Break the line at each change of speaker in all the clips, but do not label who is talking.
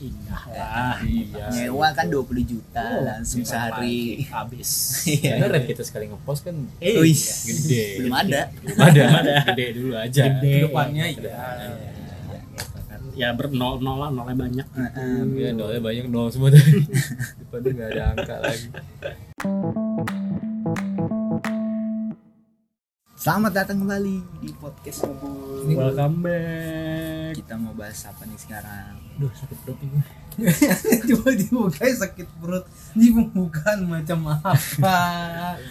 Indah lah.
Iya.
nyewa kan 20 juta
Oh,
langsung
besok
sehari
pagi Habis.
Iya.
Beneran kita sekali ngepost kan
Eh,
Wih.
iya.
gede.
belum ada
Belum ada. Gede dulu aja.
Gede.
Depannya
Iya.
iya.
ya bernol nol lah nolnya banyak
Heeh.
Iya, nolnya banyak nol semua tadi. Depannya nggak ada angka lagi.
selamat datang kembali di podcast ngebul
welcome back
kita mau bahas apa nih sekarang
Duh, sakit perut ini.
Coba dibuka sakit perut. Ini pembukaan macam apa?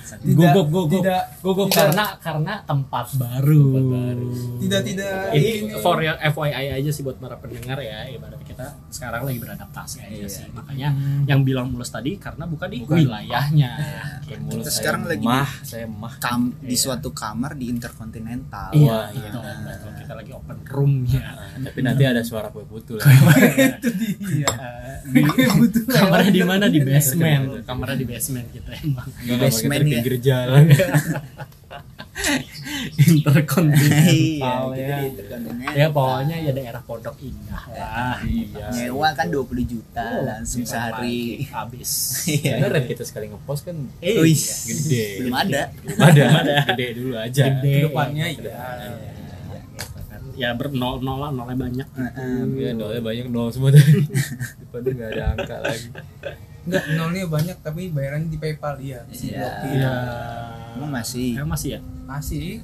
Sakit.
Tidak-
Guguk, guguk.
Tidak
Guguk
Tidak.
karena karena
tempat baru
Tempat baru.
tidak tidak
ini for your FYI aja sih buat para pendengar ya ibaratnya kita sekarang lagi beradaptasi aja
Iya.
sih
Ya,
makanya yang bilang mulus tadi karena bukan di
Bukan.
wilayahnya Kayak
mulut
Oh, iya. Kita
saya
sekarang lagi di-
mah, saya mah.
Kam- di
Iya.
suatu kamar di interkontinental
iya
Wah,
gitu Betul, kita lagi open room ya
Nah, tapi nanti ada suara kue putu lah.
itu dia.
Eh,
Gue butuh
kamarnya di mana di
Iya.
lewat.
basement kamarnya di basement kita emang
Enggak enggak
basement
kita di
ya.
pinggir jalan.
iya
interkontinental
kita di
ya
interkontinental
ya pokoknya ya daerah Pondok Indah lah
Iya.
nyewa kan 20 juta langsung
Besok
sehari
pagi habis gitu.
Iya.
Beneran kita sekali ngepost kan
Eh,
Wih.
iya.
gede.
belum ada
Belum ada. Gede dulu aja.
Gede.
Depannya iya.
ya bernol nol lah nolnya banyak
Heeh.
Iya, nolnya banyak nol semua tadi. Depannya nggak ada angka lagi.
Enggak, nolnya banyak tapi bayarannya di PayPal ya.
Iya.
Iya.
Emang masih? Oh,
Emang masih ya?
Masih.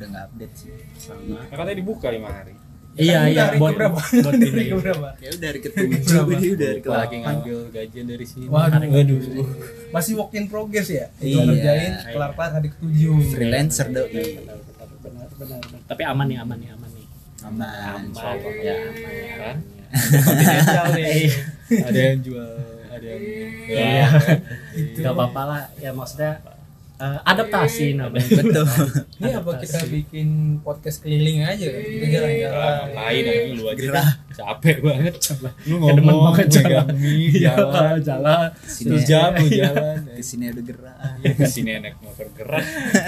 udah nggak update sih
Sama.
Katanya dibuka lima hari.
Iya,
Hari
iya.
ke
Buat
berapa?
Buat
Hari
ini.
ke berapa?
ya udah dari ketujuh
Berapa?
dia udah dari
Lupa lagi
ke
ngambil gajian dari sini.
Waduh.
Waduh.
Masih work in progress ya? Itu
Iya.
ngerjain kelar-kelar hari ketujuh.
freelancer dong
Benar, benar, benar, benar. Tapi aman nih, aman nih, aman nih.
aman
Aman. Ya, aman ya.
Kan?
Kontinental nih.
Iya. Ada yang jual, ada yang
Iya.
Itu.
Gak apa-apa lah. Ya maksudnya eh, adaptasi namanya.
betul
Ini Iya, apa kita bikin podcast keliling aja kan? Kita jalan-jalan.
Iya,
Lah, Iya, lain aja lu aja
Gerah.
dah. capek banget
Coba.
lu
Kedemen
ngomong
banget jalan. Iya,
megang mic jalan
jalan.
Kesini
terus jam lu jalan
kesini ada gerak
kesini enak motor gerak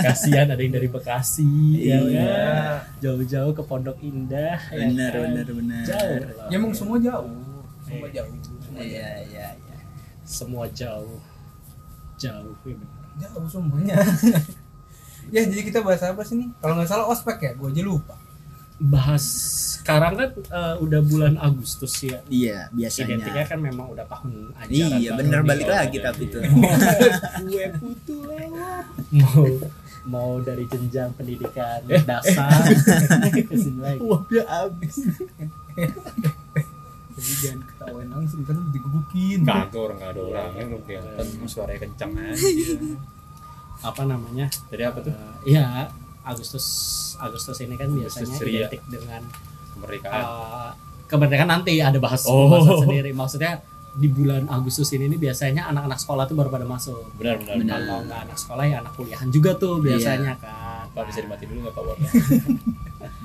Kasihan ada yang dari Bekasi. ya
Iya.
kan? Jauh-jauh ke Pondok Indah. ya
benar
kan?
benar benar
Jauh. lah.
Ya emang semua jauh. Semua jauh. Semua
iya iya iya
semua jauh jauh ya benar.
jauh semuanya ya jadi kita bahas apa sih nih kalau nggak salah ospek ya gue aja lupa
bahas sekarang kan eh, udah bulan Agustus ya
iya
identiknya
biasanya
kan memang udah tahun ajaran
iya
baru
benar
nih.
balik lagi tapi tuh
gue putu lewat
mau mau dari jenjang pendidikan dasar ke sini lagi
udah habis
jadi jangan ketahuan langsung kan digebukin
Kagak orang nggak ada orangnya lu kelihatan suaranya kenceng aja.
apa namanya
tadi apa tuh
Eh, ya Agustus Agustus ini kan
Agustus
biasanya
ceria. Kan?
identik dengan
Kemerdekaan.
eh, kemerdekaan nanti ada bahas
Oh.
bahasa sendiri maksudnya di bulan Agustus ini nih biasanya anak-anak sekolah tuh baru pada masuk
benar benar Iya.
Benar.
kalau nggak anak sekolah ya anak kuliahan juga tuh biasanya kan
pak bisa dimatiin dulu nggak pak warna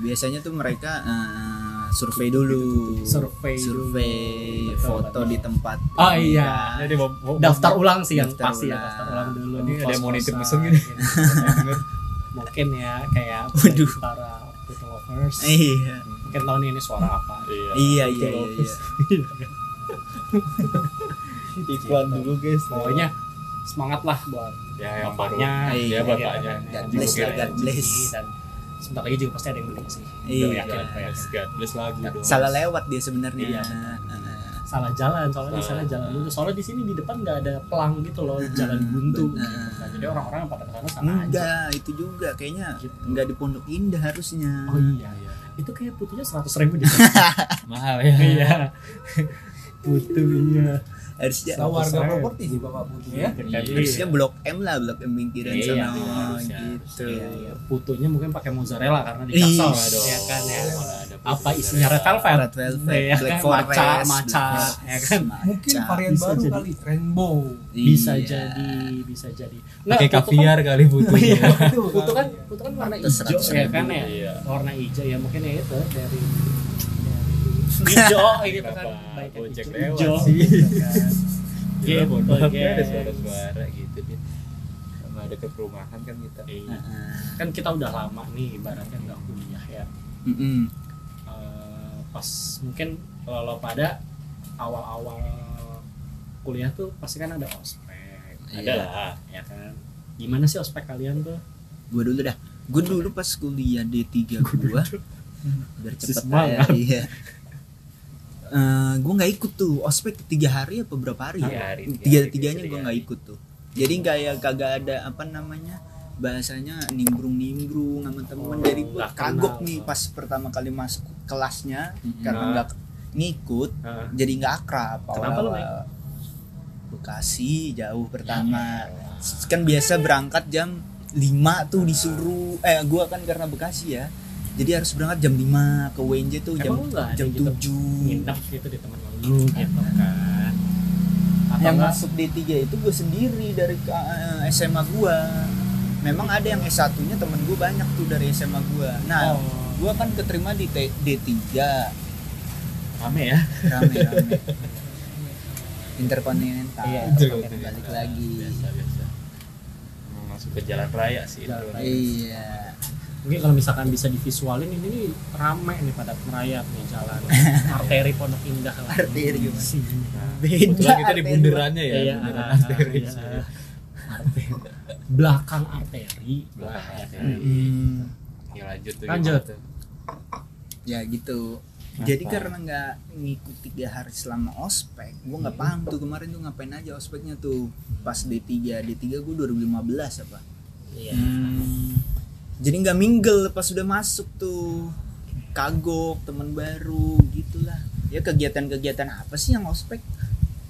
biasanya tuh mereka eh, survei dulu
Survei dulu.
survei
Betul,
foto
betul.
di tempat
oh iya
ada mau mau-
daftar ulang sih yang
Daftar
pasti ya
ulang.
daftar ulang dulu
Ini ada
kos-kosan,
monitor mesin gini.
gitu. mungkin ya kayak
Waduh.
para food lovers
iya
mungkin tahun ini suara apa
iya
iya iya iya, iya.
iklan dulu guys
pokoknya semangat lah buat
ya yang
bapaknya
Iya,
ya bapaknya
God bless lah, God bless.
dan sebentar lagi juga pasti ada yang beli sih
Iya.
Gue yakin gue yakin.
God bless lagu dong
salah lewat dia sebenarnya
Iya. salah jalan soalnya di sana
Salah.
jalan buntu soalnya di sini di depan nggak ada pelang gitu loh jalan buntu
Hmm, benar.
gitu. Nah, jadi orang-orang pada kesana sana aja
enggak itu juga kayaknya
Gitu.
enggak di Pondok Indah harusnya
oh iya iya itu kayak putunya seratus ribu di
mahal ya
iya putunya
harusnya
Tahu warga
Saya.
properti sih bapak butuh
Iya.
ya
harusnya blok M lah blok M pinggiran
Iya,
sana
harusnya.
gitu
Iya, iya. putunya mungkin pakai mozzarella karena di
Ih,
kasal
Salah dong.
iya
ya kan ya
Mana ada
apa
putus
isinya
dari-
red velvet
Red Velvet,
Iya,
Black
kan?
Forest, Iya.
Maca,
Black
maca,
Forest,
ya kan?
maca.
mungkin varian
bisa
baru
jadi.
kali rainbow
bisa
Iya.
jadi bisa jadi Nggak,
pakai
putu kan-
kaviar kali
Iya.
ya.
butuhnya
putu kan putu kan warna
Pantes
hijau
100
ya
ribu.
kan ya
Iya.
warna hijau ya mungkin ya itu dari dari hijau gitu kan
Kenapa
baik
Gojek
hijau,
lewat
hijau
sih?
gitu kan.
Iya,
Gitu,
bodoh
guys.
ada suara-suara gitu dia. Sama deket perumahan kan kita.
Iya.
Heeh.
kan kita udah lama nih ibaratnya nggak kuliah ya
Mm-mm.
Eh, pas mungkin kalau lo pada awal-awal kuliah tuh pasti kan ada
Nah,
ospek
Ada lah.
ya kan gimana sih ospek kalian tuh
Gua dulu dah. Gua dulu pas kuliah D3 gua biar cepet aja.
Semangat.
Iya. Eh, gua nggak ikut tuh ospek tiga hari apa berapa hari
Tiga
ya
hari, tiga
tiga
hari,
tiganya
tiga
gua
hari.
nggak ikut tuh jadi kayak kagak ada apa namanya bahasanya nimbrung nimbrung sama temen
Oh,
dari gua
nggak
kagok
kenal.
nih pas pertama kali masuk kelasnya
Mm-mm.
karena nggak ngikut
Nah,
jadi nggak akrab
Kenapa lu, Mike?
Bekasi jauh pertama kan biasa berangkat jam 5 tuh disuruh eh gua kan karena Bekasi ya jadi harus berangkat jam 5 ke WNJ tuh jam
Emang lu nggak ada
jam
gitu?
7
nginep gitu di teman lu gitu kan atau
yang
enggak
masuk D3 itu gue sendiri dari eh, SMA gua memang ada yang S1 nya temen gue banyak tuh dari SMA gua
Oh.
nah gua kan keterima di T- D3
rame ya
rame rame interkontinental
Iya,
pakai balik lagi
biasa biasa Emang masuk ke jalan raya sih itu.
Jalan raya.
iya
mungkin kalau misalkan bisa divisualin ini nih rame nih padat merayap nih jalan arteri Pondok Indah lah
Arteri gimana?
Sini.
beda
Kebetulan kita di
arteri.
bundarannya ya,
Iya,
bundaran
ah,
arteri.
iya. Arteri. belakang arteri
Belakang
Ya kan?
arteri.
Hmm.
Ya, lanjut tuh
Lanjut.
gimana tuh?
ya gitu jadi
Apa?
karena nggak ngikuti tiga hari selama ospek gue nggak paham tuh kemarin tuh ngapain aja ospeknya tuh pas D3 D3 gue 2015 apa
Iya.
Hmm. jadi nggak minggel pas sudah masuk tuh kagok teman baru gitulah ya kegiatan-kegiatan apa sih yang ospek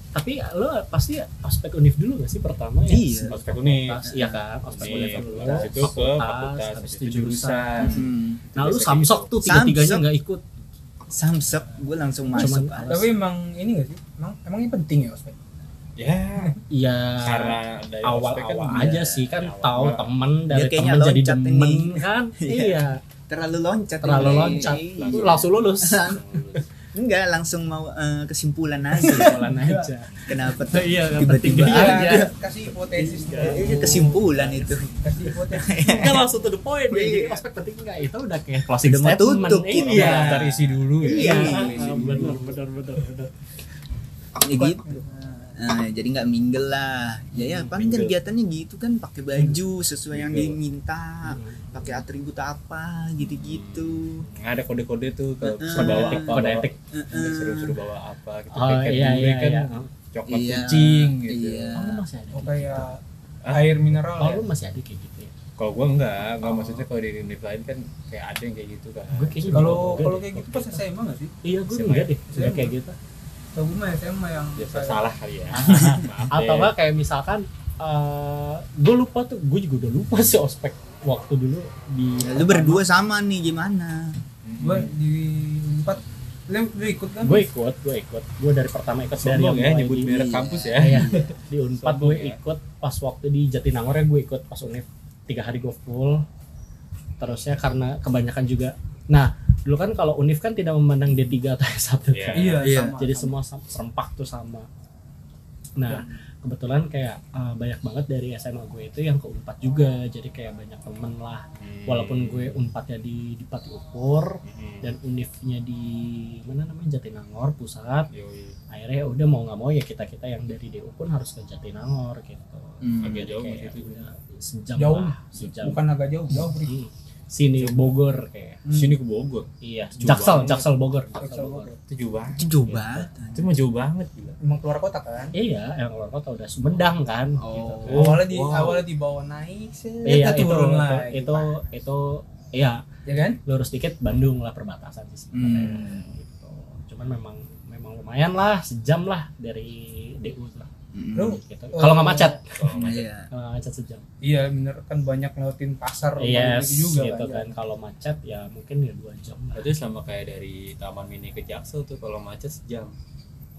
tapi lo pasti ospek univ dulu gak sih pertama ya
Iya.
Ospek unik.
Fakultas, iya kan ospek univ
Unik,
dulu
habis itu ke fakultas, habis itu jurusan. gitu.
hmm.
nah lu samsok tuh tiga tiganya
Samsok.
nggak ikut
samsek gue langsung masuk
Cuman-
alas.
Tapi emang ini gak sih? Emang, emang ini penting ya ospek?
Ya,
ya
cara dari
awal
ospek
awal
kan
aja
iya.
sih kan
Awal-awal.
tahu temen dari
Dia kayaknya
temen jadi
loncat ini.
demen kan
Iya.
iya
terlalu loncat
terlalu
ini.
loncat
Iya.
lu langsung lulus
enggak langsung mau eh, kesimpulan aja
Kesimpulan Iya, aja
kenapa tuh
iya yang
Tiba-tiba
penting
aja.
aja
iya. kasih hipotesis dulu.
Eh, kesimpulan itu
Kasih hipotesis.
kan langsung to the point ya. jadi
Iya.
ospek penting nggak itu udah kayak closing
Udah mau
statement
tutup
Iya.
kita.
daftar isi dulu ya.
iya
Iya.
benar benar benar benar
ya gitu Nah, jadi nggak minggel lah ya ya paling
Minggel.
kegiatannya gitu kan pakai baju sesuai yang
Minggel.
diminta pakai atribut apa gitu-gitu Eh,
Nggak ada kode-kode tuh ke
Heeh.
suruh
Kode
bawa apa,
etik, kode
bawa-
etik.
Heeh.
Suruh-suruh bawa apa gitu.
oh
Paket
iya
dulu
iya
kan
iya
coklat
Iya,
kucing gitu.
iya.
oh, lu masih ada
Oh
kayak gitu.
kayak air mineral
oh
ya?
lu masih ada kayak gitu ya
Kalau gua enggak, enggak
Oh.
maksudnya kalau di univ lain kan kayak ada yang kayak gitu kan.
gue kayaknya
Kalau
juga
kalau
deh.
kayak gitu pas SMA gak sih?
iya gue
SMA.
enggak deh
SMA.
udah kayak gitu
Kalau gue mah SMA yang
Biasa
kayak-
salah kali ya. Maaf
atau
deh.
enggak kayak misalkan eh gue lupa tuh gue juga udah lupa sih ospek waktu dulu di
Ya, lu berdua sama nih gimana
Hmm.
Gue di empat Lu lu ikut kan?
gue ikut gue ikut gue dari pertama ikut dari
sombong ya
mulai
nyebut
di-
merek
Iya.
kampus ya.
Iya, di Unpad gue
Sombong ya.
ikut pas waktu di Jatinangor ya gue ikut pas univ tiga hari gue full terusnya karena kebanyakan juga nah dulu kan kalau univ kan tidak memandang D3 atau S1 kan.
Iya.
Iya,
Iya.
sama. Ya.
jadi
sama.
semua sam- serempak tuh sama nah kebetulan kayak eh, banyak banget dari SMA gue itu yang ke Unpad juga jadi kayak banyak temen lah walaupun gue Unpadnya di di Pati Ukur
Hmm.
dan univnya di mana namanya Jatinangor pusat
Yoi.
akhirnya udah mau nggak mau ya kita kita yang dari DU pun harus ke Jatinangor gitu
Hmm.
Agak jauh
kayak
maksudnya.
udah sejam
Jauh.
lah sejam
Bukan agak jauh, jauh Bri.
Iya. sini Bogor kayak
Sini ke Bogor.
iya
Jauh
Jaksel
banget.
Jaksel Bogor
Jaksel
Jaksel Bogor
Bogor.
Itu jauh banget.
itu jauh banget
Itu mah jauh banget gila.
Emang keluar kota kan?
iya yang luar kota udah Sumedang kan gitu
Oh.
kan.
awalnya di
wow.
awalnya dibawa naik, set,
iya itu
turun
itu,
lagi.
itu itu iya
ya kan?
lurus dikit Bandung lah perbatasan sih sebenarnya.
Hmm.
gitu cuman memang memang lumayan lah sejam lah dari DU lah
Mm.
Lu-
gitu. kalau nggak
Eh,
macet
Kalau macet.
Iya.
kalau nggak macet sejam
Iya bener kan banyak ngelewatin pasar
Iya, Yes,
gitu juga
gitu
kan.
kan. Kalau macet ya mungkin ya dua jam. lah.
Berarti sama kayak dari Taman Mini ke Jaksel tuh kalau macet sejam.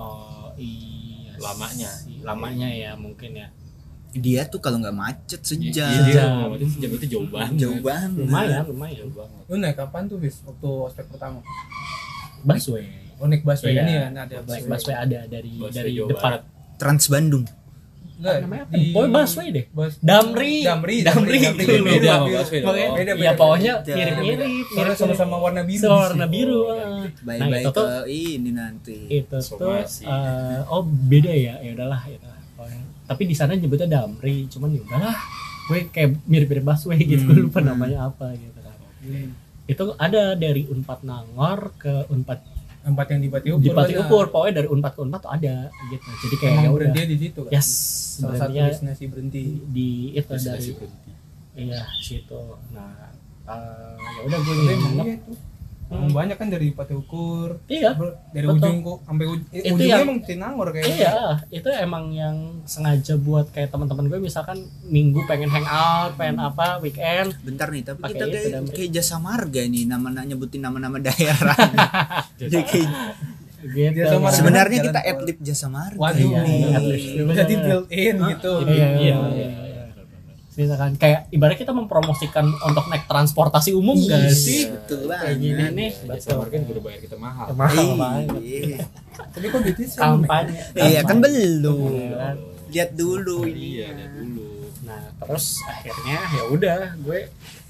Oh iya.
Lamanya.
sih. Lamanya ya mungkin ya.
dia tuh kalau nggak macet
Iya,
sejam Hmm.
iya,
Sejam.
kalau macet sejam itu jauh banget.
jauh
Hmm.
banget
Lumayan, lumayan.
Jauh banget.
Lu naik kapan tuh bis waktu ospek pertama?
Busway.
Oh naik busway
Iya.
ini kan ada
Naik busway ada dari
Busway
dari
Jawa
Depart.
Trans Bandung
Nggak,
namanya apa?
di-
Pokoknya busway deh.
Bus-
Damri.
Damri,
Damri.
Damri,
Itu
Damri.
beda.
sama busway dong.
Makanya-
Beda,
Ya
beda,
pokoknya
beda.
mirip-mirip.
Soalnya
mirip-mirip.
sama-sama warna biru.
Warna biru. ah.
Bye-bye
itu tuh- Iya.
ke ini nanti.
itu tuh
Somasi.
eh, oh beda ya ya udahlah ya udahlah. Pokoknya. tapi di sana nyebutnya damri cuman ya udahlah gue kayak mirip-mirip busway gitu gue lupa
Hmm.
namanya apa gitu kan
Hmm.
itu ada dari unpad nangor ke unpad
Empat yang di Bati Ukur.
di Pati
banyak.
Ukur pokoknya dari unpad ke unpad tuh ada gitu jadi kayak
ya. Emang
ya udah
berhenti di situ kan.
yes ya. Iya.
Salah satu
sebenarnya
destinasi berhenti.
di itu
Terus
dari
masih berhenti.
iya situ nah eh, ya udah gue
Tapi emang
nginep
iya tuh. Emang banyak kan dari Pati Ukur.
iya
Ber- Dari
Hmm. Betul.
ujung kok sampai uj- eh,
Itu
ujungnya
yang-
emang Tinangor kayaknya.
Iya, itu emang yang sengaja buat kayak teman-teman gue misalkan minggu pengen hangout, pengen apa, weekend.
Bentar nih, tapi
Pakai
kita
itu,
kayak,
Damri.
kayak jasa marga nih nama na- nyebutin nama-nama daerah. Jadi kayak-
Gitu.
Dia sama-
Nah,
sebenarnya
Jalan
kita
tol.
adlib jasa marga.
Waduh.
Iya,
nih.
atlet.
Jadi built in gitu.
Iya, iya, iya. iya. Misalkan kayak ibarat kita mempromosikan untuk naik transportasi umum gak
Iya,
Yes,
sih?
betul
Kayak gini
banget.
nih,
Ya, jasa marga juga udah bayar kita Iya. mahal.
Mahal banget.
Iya.
Tapi kok duitnya sih?
Kampanye.
Iya kan belum.
Iya.
Lihat dulu ini.
Iya, ada dulu.
Nah, terus akhirnya ya udah gue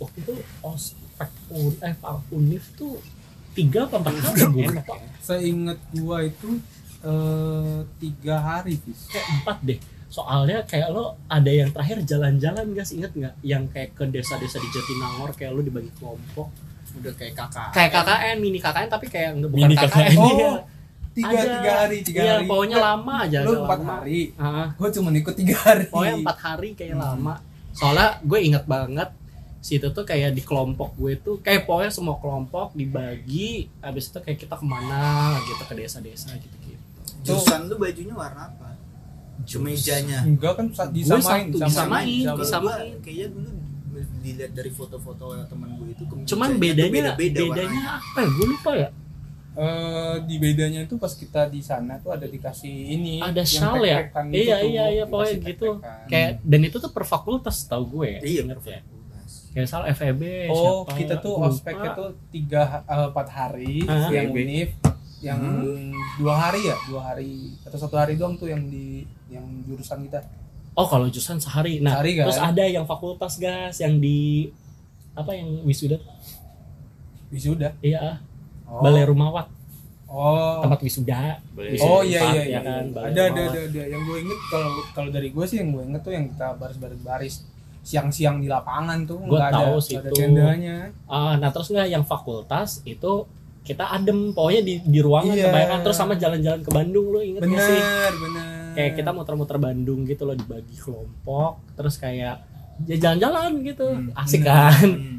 waktu itu ospek un eh univ tuh tiga apa empat kali ya? gue lupa.
Seingat gua itu eh, tiga hari bis.
kayak empat deh soalnya kayak lo ada yang terakhir jalan-jalan guys inget nggak yang kayak ke desa-desa di Jatinangor kayak lo dibagi kelompok
Udah kayak kakak.
kayak KKN mini KKN tapi kayak nggak bukan
Mini
KKN,
KKN.
iya.
Oh, tiga
Ada.
tiga hari tiga
Iya,
hari.
pokoknya lama aja
Lu
agak
empat
lama.
hari.
Ah,
Gua cuma ikut tiga hari.
pokoknya empat hari kayak
Hmm.
lama soalnya gue inget banget situ tuh kayak di kelompok gue tuh kayak pokoknya semua kelompok dibagi abis itu kayak kita kemana gitu ke desa-desa gitu-gitu
Jurusan lu bajunya warna apa? Mejanya.
Enggak kan sa- disamain,
satu, disamain.
disamain.
disamain.
Kalau gua Kayaknya dulu dilihat dari foto-foto teman gue itu kemeja
cuman
itu
bedanya
beda-beda
bedanya apa ya gue lupa ya
Eh, di bedanya itu pas kita di sana tuh ada dikasih ini
Ada
yang
shawl ya?
tek-tekan gitu
Iya,
tuh,
iya, iya, pokoknya
dikasih
gitu.
tek-tekan.
kayak dan itu tuh per fakultas tau gue ya
Iya,
Ingat ya?
warnanya.
kayak misal FEB
oh
siapa, ya?
kita tuh
lupa.
ospek itu tiga eh, empat hari
Ah.
yang
Baby.
univ yang dua hari ya dua hari atau satu hari doang tuh yang di yang jurusan kita
oh kalau jurusan sehari nah
Sehari, kan?
terus ada yang fakultas gas yang di apa yang wisuda tuh?
wisuda
iya
oh.
balai rumawat
oh
tempat wisuda
Boleh.
Bisa
Oh iya
Tempat,
iya
ya
iya.
kan, balai
Ada ada
rumah.
ada ada. Yang gue inget kalau kalau dari gue sih yang gue inget tuh yang kita baris-baris baris siang-siang di lapangan tuh
Gue
nggak
tahu
ada
sih
nggak ada
itu.
tendanya.
Ah, nah terus nggak yang fakultas itu kita adem pokoknya di di ruangan
Iya.
kebanyakan terus sama jalan-jalan ke Bandung lo inget nggak Iya sih
Bener bener.
kayak kita muter-muter Bandung gitu loh dibagi kelompok terus kayak ya jalan-jalan gitu
Hmm,
asik
bener.
kan
Hmm.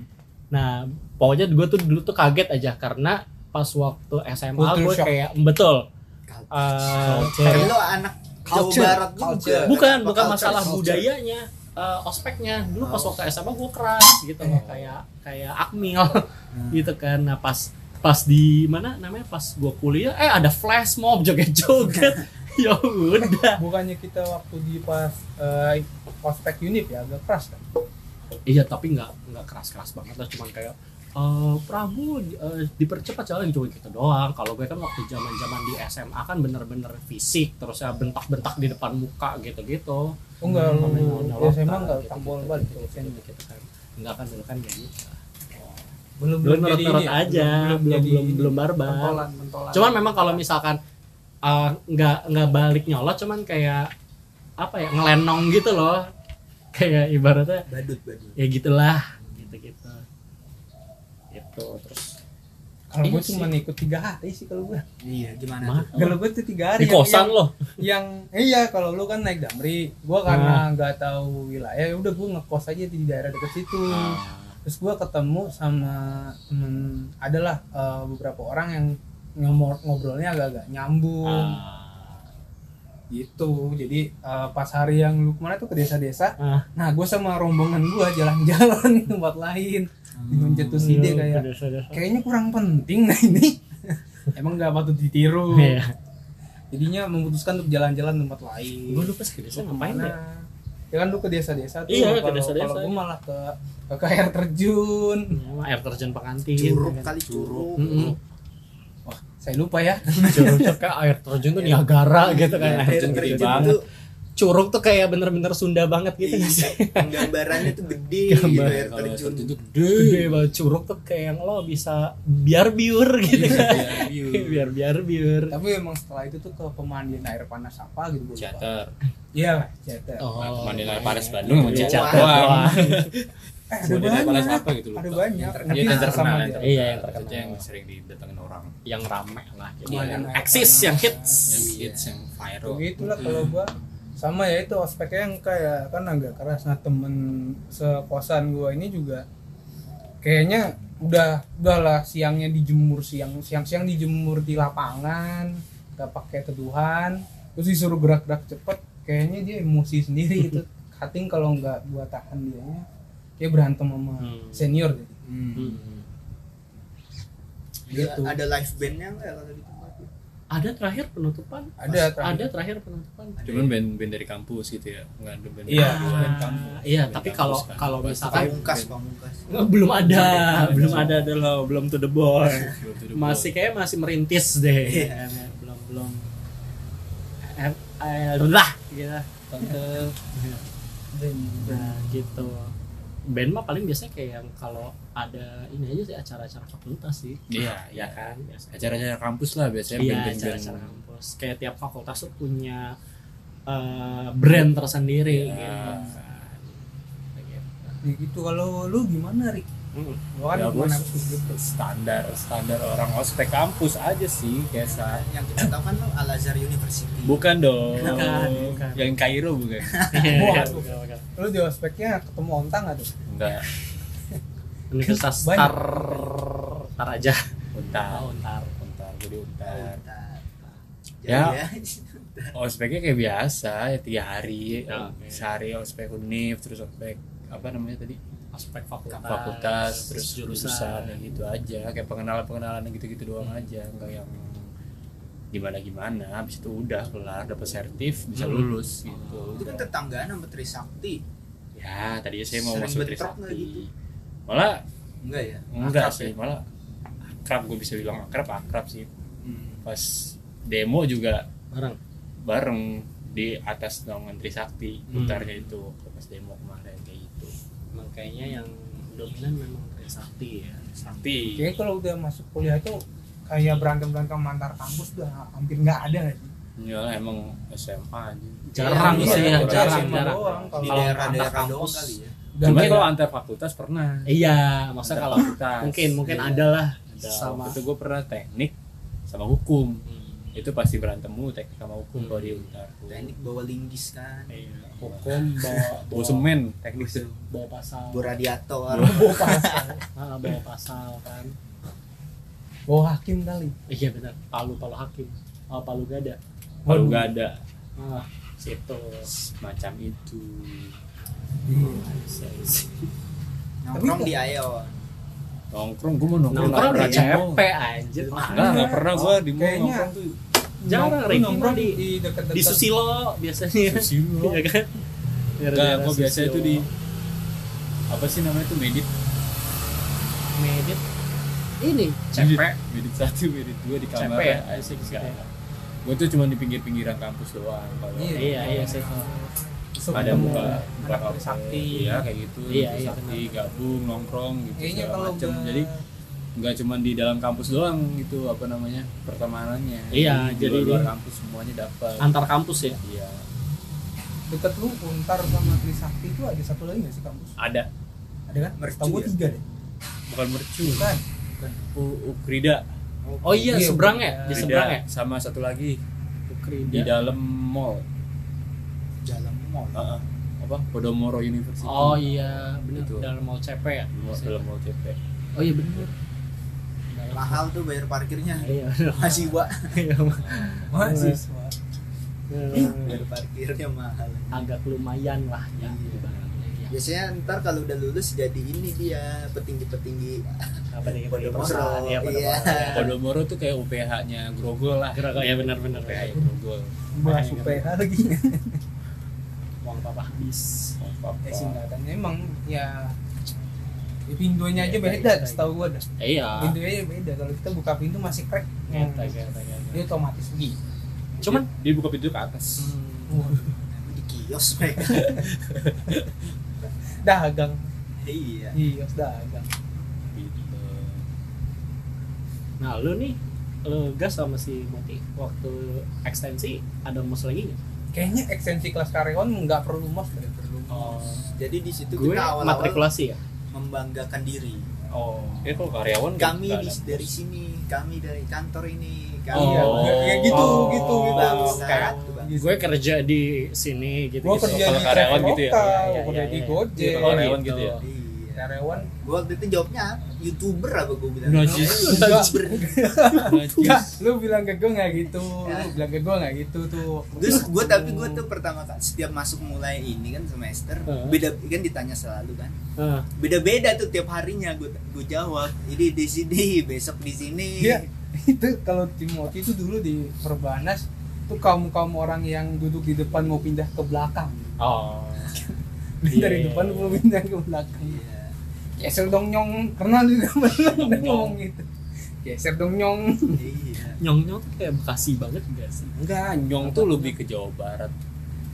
Nah, pokoknya gue tuh dulu tuh kaget aja karena pas waktu SMA
Culture
gue
shock.
kayak betul. Eh,
Tapi lo anak Jawa
Culture,
Barat
culture.
juga.
bukan bukan
Culture,
masalah
culture.
budayanya, eh, ospeknya. Dulu pas waktu SMA gue keras gitu
Eh.
loh kayak kayak akmil gitu kan. Nah, pas pas di mana namanya pas gue kuliah eh ada flash mob joget-joget. ya udah.
Bukannya kita waktu di pas eh, ospek unit ya agak keras kan?
Iya, tapi nggak nggak keras-keras banget lah cuman kayak eh Prabu eh, dipercepat jalan cuma gitu doang. Kalau gue kan waktu zaman-zaman di SMA kan bener-bener fisik terus ya bentak-bentak di depan muka gitu-gitu.
Oh enggak
Hmm,
lu
nyolot,
ya SMA
ah,
enggak
gitu-gitu,
tambol balik
gitu-gitu,
tuh
gitu-gitu, gitu kan. Enggak kan dulu kan kayak gitu.
Belum ya?
Belum nurut-nurut aja, belum belum belum barbar.
mentolan mentolan.
Cuman memang kalau misalkan eh, nggak nggak balik nyolot cuman kayak apa ya ngelenong gitu loh. Kayak ibaratnya
Badut badut.
ya gitulah gitu gitu gitu terus
kalau gue
Iya
cuma ikut tiga hari sih kalau gue.
Iya gimana?
Mah,
tuh?
Kalau gue tuh tiga hari.
di
Kan yang- yang-
kosan loh
yang iya kalau lu kan naik damri gua karena nggak tahu wilayah ya udah gua ngekos aja di daerah deket situ
Ah.
terus gua ketemu sama temen adalah eh, beberapa orang yang ngomor- ngobrolnya agak-agak nyambung
Ah.
gitu jadi eh, pas hari yang lu kemana tuh ke desa-desa
Ah.
nah gua sama rombongan gua jalan-jalan di tempat lain dengan jatuh ide
Hmm.
kayak kayaknya kurang penting nah ini emang nggak patut ditiru
Iya.
jadinya memutuskan untuk jalan-jalan di tempat lain
gue lupa sih desa ngapain
Mana?
ya
Ya kan lu ke desa-desa tuh.
Iya, ke
kalau-
desa-desa.
Kalau gua malah ke ke, ke air terjun.
Iya, Sama air terjun gitu kan. pengantin
Curug kali curug.
Mm-mm.
Saya lupa ya.
Iya.
curug tuh kayak air terjun tuh Niagara gitu kan air
Air
terjun gede
iya, terjun
banget
tuh
curug tuh kayak bener-bener Sunda banget gitu nggak sih?
Iya gambarannya tuh gede gitu
Gambar.
ya
Kalau yang
terjun
terjun tuh
Gede banget curug tuh kayak yang lo bisa biar biur gitu
Iya,
kan.
biar
biar biar biur.
tapi emang setelah itu tuh ke pemandian air panas apa gitu gue lupa
Chatter.
iya lah cetek
Oh.
Pemandian air panas Bandung mau
Iya.
chatter
Wah.
eh
doang.
ada
Pemandian air panas
banyak
apa gitu lupa.
ada banyak
Yang
tapi
terkenal, yang terkenal, yang
sama aja
terkenal.
Iya, yang
Itu aja
terkenal.
yang sering didatengin orang.
Yang rame lah. gitu. Jadi
Iya,
yang
yang
eksis,
rame.
yang hits.
Yang hits, yang viral.
begitulah kalau gua sama ya itu ospeknya yang kayak kan agak keras nah temen sekosan gua ini juga kayaknya udah udahlah siangnya dijemur siang siang siang dijemur di lapangan nggak pakai teduhan terus disuruh gerak gerak cepet kayaknya dia emosi sendiri itu kating kalau nggak gua tahan dia dia berantem sama
Hmm.
senior jadi
Hmm.
gitu
Iya, ada live bandnya nggak kalau di tempat itu?
Ada terakhir penutupan.
ada
Ada
terakhir.
terakhir penutupan.
Cuman band-band dari kampus gitu ya. Enggak ada band.
Iya.
dari
Ah,
luar.
iya,
Band
tapi
kampus
kalau
kan.
kalau
Pasti
misalkan
pamungkas pamungkas
Nggak, belum ada,
Belum ada.
belum ada dulu, belum to the boy.
Belum to the
Masih kayak masih merintis deh.
Iya.
belum belum. Eh, eh, Lah, gitu. Tante Nah, gitu. Band mah paling biasanya kayak yang kalau ada ini aja sih acara-acara fakultas sih.
goal. Iya, iya.
Ya kan? Biasanya.
Acara-acara kampus lah biasanya
Iya,
band-band band.
acara-acara kampus. Kayak tiap fakultas tuh punya eh, brand tersendiri
Iya.
gitu.
Ya gitu kalau lu gimana Rik?
Hmm.
Gua kan
Ya,
bukan
bos.
aku gitu.
standar standar orang ospek kampus aja sih kayak sa-
yang kita tahu kan lo Al Azhar University
bukan dong
Bukan, bukan.
yang Kairo bukan
Iya,
Bukan.
bukan, bukan.
Lu di ospeknya ketemu ontang gak tuh?
enggak
Universitas
Banyak.
Tar Tar aja.
untar
Oh, Tar.
untar jadi untar
Bentar.
Ya.
Nah, Jadi
ospeknya kayak biasa ya tiga hari
Ya.
sehari ospek univ terus ospek apa namanya tadi
Aspek fakultas,
Ah,
fakultas terus jurusan,
jurusan.
ya gitu aja kayak pengenalan pengenalan gitu gitu doang
Hmm.
aja enggak yang gimana gimana habis itu udah kelar dapat sertif bisa
Hmm.
lulus gitu
itu kan tetanggaan sama Trisakti
ya tadinya saya mau
Sering
masuk
bentrok nggak gitu?
Trisakti malah
enggak ya
enggak
Akrab
sih
ya?
malah akrab gue bisa bilang akrab akrab sih
Hmm.
pas demo juga
Barang.
bareng di atas naungan Trisakti
Hmm.
putarnya itu pas demo kemarin kayak gitu
Makanya yang dominan memang Trisakti ya.
Sakti
Kayaknya kalau udah masuk kuliah tuh kayak berantem-berantem antar kampus udah hampir nggak ada gak sih?
ya emang SMA aja
Jarang
Iya,
sih
iya,
ya,
iya,
jarang,
iya,
jarang.
doang kalau-
di
Kalau
daerah-daerah
antar
doang
kampus.
kali ya
Dan
Cuman
kayak-
kalau antar fakultas pernah.
Iya, maksudnya kalau
fakultas.
mungkin mungkin
Iya.
ada lah
Ada.
sama
Waktu itu gue pernah teknik sama hukum. Itu pasti berantem mulu teknik sama hukum
Hmm.
kalau di Untar.
teknik bawa linggis kan
Iya, hukum bawa
Bawa semen teknik itu.
bawa pasal
bawa radiator
Iya. Ah, bawa pasal kan
bawa hakim kali.
iya benar palu palu hakim oh, palu gada
Kalau
Waduh.
nggak ada
ah situ
macam itu.
Iya.
nongkrong
Tapi-
di ayo
Nongkrong gue mau nongkrong.
nongkrong udah
nggak pernah di mall.
capek anjir
Enggak,
mana
enggak pernah gue di mall
Kayaknya-
nongkrong tuh.
Jarang,
Nong-
Rik.
nongkrong
Di-
di dekat-dekat
di susilo biasanya
Susilo.
iya kan
Enggak,
Daerah-daerah
gue biasanya
Susilo.
tuh di apa sih namanya tuh medit
medit ini
medit,
cepet
medit satu medit dua di kamar
Capek ya?
asik sekali gue tuh cuma di pinggir pinggiran kampus doang kalau
Iya, iya, sih.
Terus
ada
ketemu
buka buka
anak
kafe,
Trisakti.
ya kayak gitu
Iya, iya,
sakti gabung nongkrong gitu
Kayaknya
segala
kalau
macem.
udah
jadi nggak cuma di dalam kampus doang gitu apa namanya pertemanannya
Iya,
Di
jadi
luar,
dia-
kampus semuanya dapat
antar kampus ya
iya
deket lu Untar sama Trisakti itu ada satu lagi nggak sih kampus?
ada
Ada kan?
Mercu
Tahu gua
ya?
tiga deh.
bukan mercu
Bukan.
U- Ukrida
oh iya
Iya,
seberang ya di
Ukrida
seberang ya Iya.
sama satu lagi di
Ukrida.
dalam mall
jalan mall
Heeh. apa Podomoro University
oh iya benar
Gitu.
dalam mall cepet ya
Mall- dalam mall CP
oh iya benar Dalam-
mahal tuh bayar parkirnya
iya
masih wa
Mahasiswa.
bayar parkirnya mahal
agak lumayan lah ya
Iya.
ibaratnya ya.
biasanya ntar kalau udah lulus jadi ini dia petinggi-petinggi
apa nih
Podomoro.
perusahaan, ya
Iya.
Podomoro.
Podomoro tuh kayak UPH-nya Grogol lah
Gerak ya benar-benar
UPH
ya.
-nya Grogol
Bahas UPH lagi.
Uang papa habis. Eh,
Oh, apa-apa.
ya singkatannya emang ya, ya pintunya aja
Ya,
beda
baik,
setahu gua dah
Eh,
Iya.
pintunya aja beda kalau kita buka pintu masih crack
Ngeta, ngeta, ngeta.
dia otomatis pergi
Cuman
dia, dia buka pintu ke atas
Waduh.
di Yos mereka.
dagang
iya.
iya dagang
gitu
Nah lu nih lu gas sama si Moti waktu ekstensi ada mos lagi nggak?
kayaknya ekstensi kelas karyawan nggak perlu mos nggak perlu
Oh,
Jadi di situ
gue
kita awal-awal
matrikulasi ya.
membanggakan diri.
Oh.
ya kalau karyawan nggak-
Kami
nggak
di,
ada
dari
bos.
sini, kami dari kantor ini, kami
Iya,
Oh.
kayak- kayak gitu,
Oh.
gitu, gitu.
Bangsat, tuh, bangsat.
Gue kerja di sini gitu.
Gue kerja
Kalau
di
karyawan
karyawan
gitu
gitu
ya?
Iya, iya,
kerja
iya,
di
iya.
Gojek.
Kalau karyawan gitu ya?
Iya.
Karyawan
Gue waktu itu jawabnya youtuber apa gue bilang?
Najis.
Youtuber.
Enggak, lu bilang ke gue nggak gitu, lu bilang ke gue nggak gitu tuh.
Iya. Terus gue tapi gue tuh pertama kali setiap masuk mulai ini kan semester
Heeh.
beda kan ditanya selalu kan
Ah,
beda-beda tuh tiap harinya gue gue jawab jadi di sini besok di sini
Iya, itu kalau Timothy itu dulu di Perbanas tuh kaum kaum orang yang duduk di depan mau pindah ke belakang.
Oh. Iya.
Dari depan mau pindah ke belakang.
Iya.
Geser dong nyong, karena lu juga pernah ngomong gitu. Geser dong nyong.
iya
Nyong-nyong tuh kayak Bekasi banget gak sih?
Enggak, nyong tuh lebih ke Jawa Barat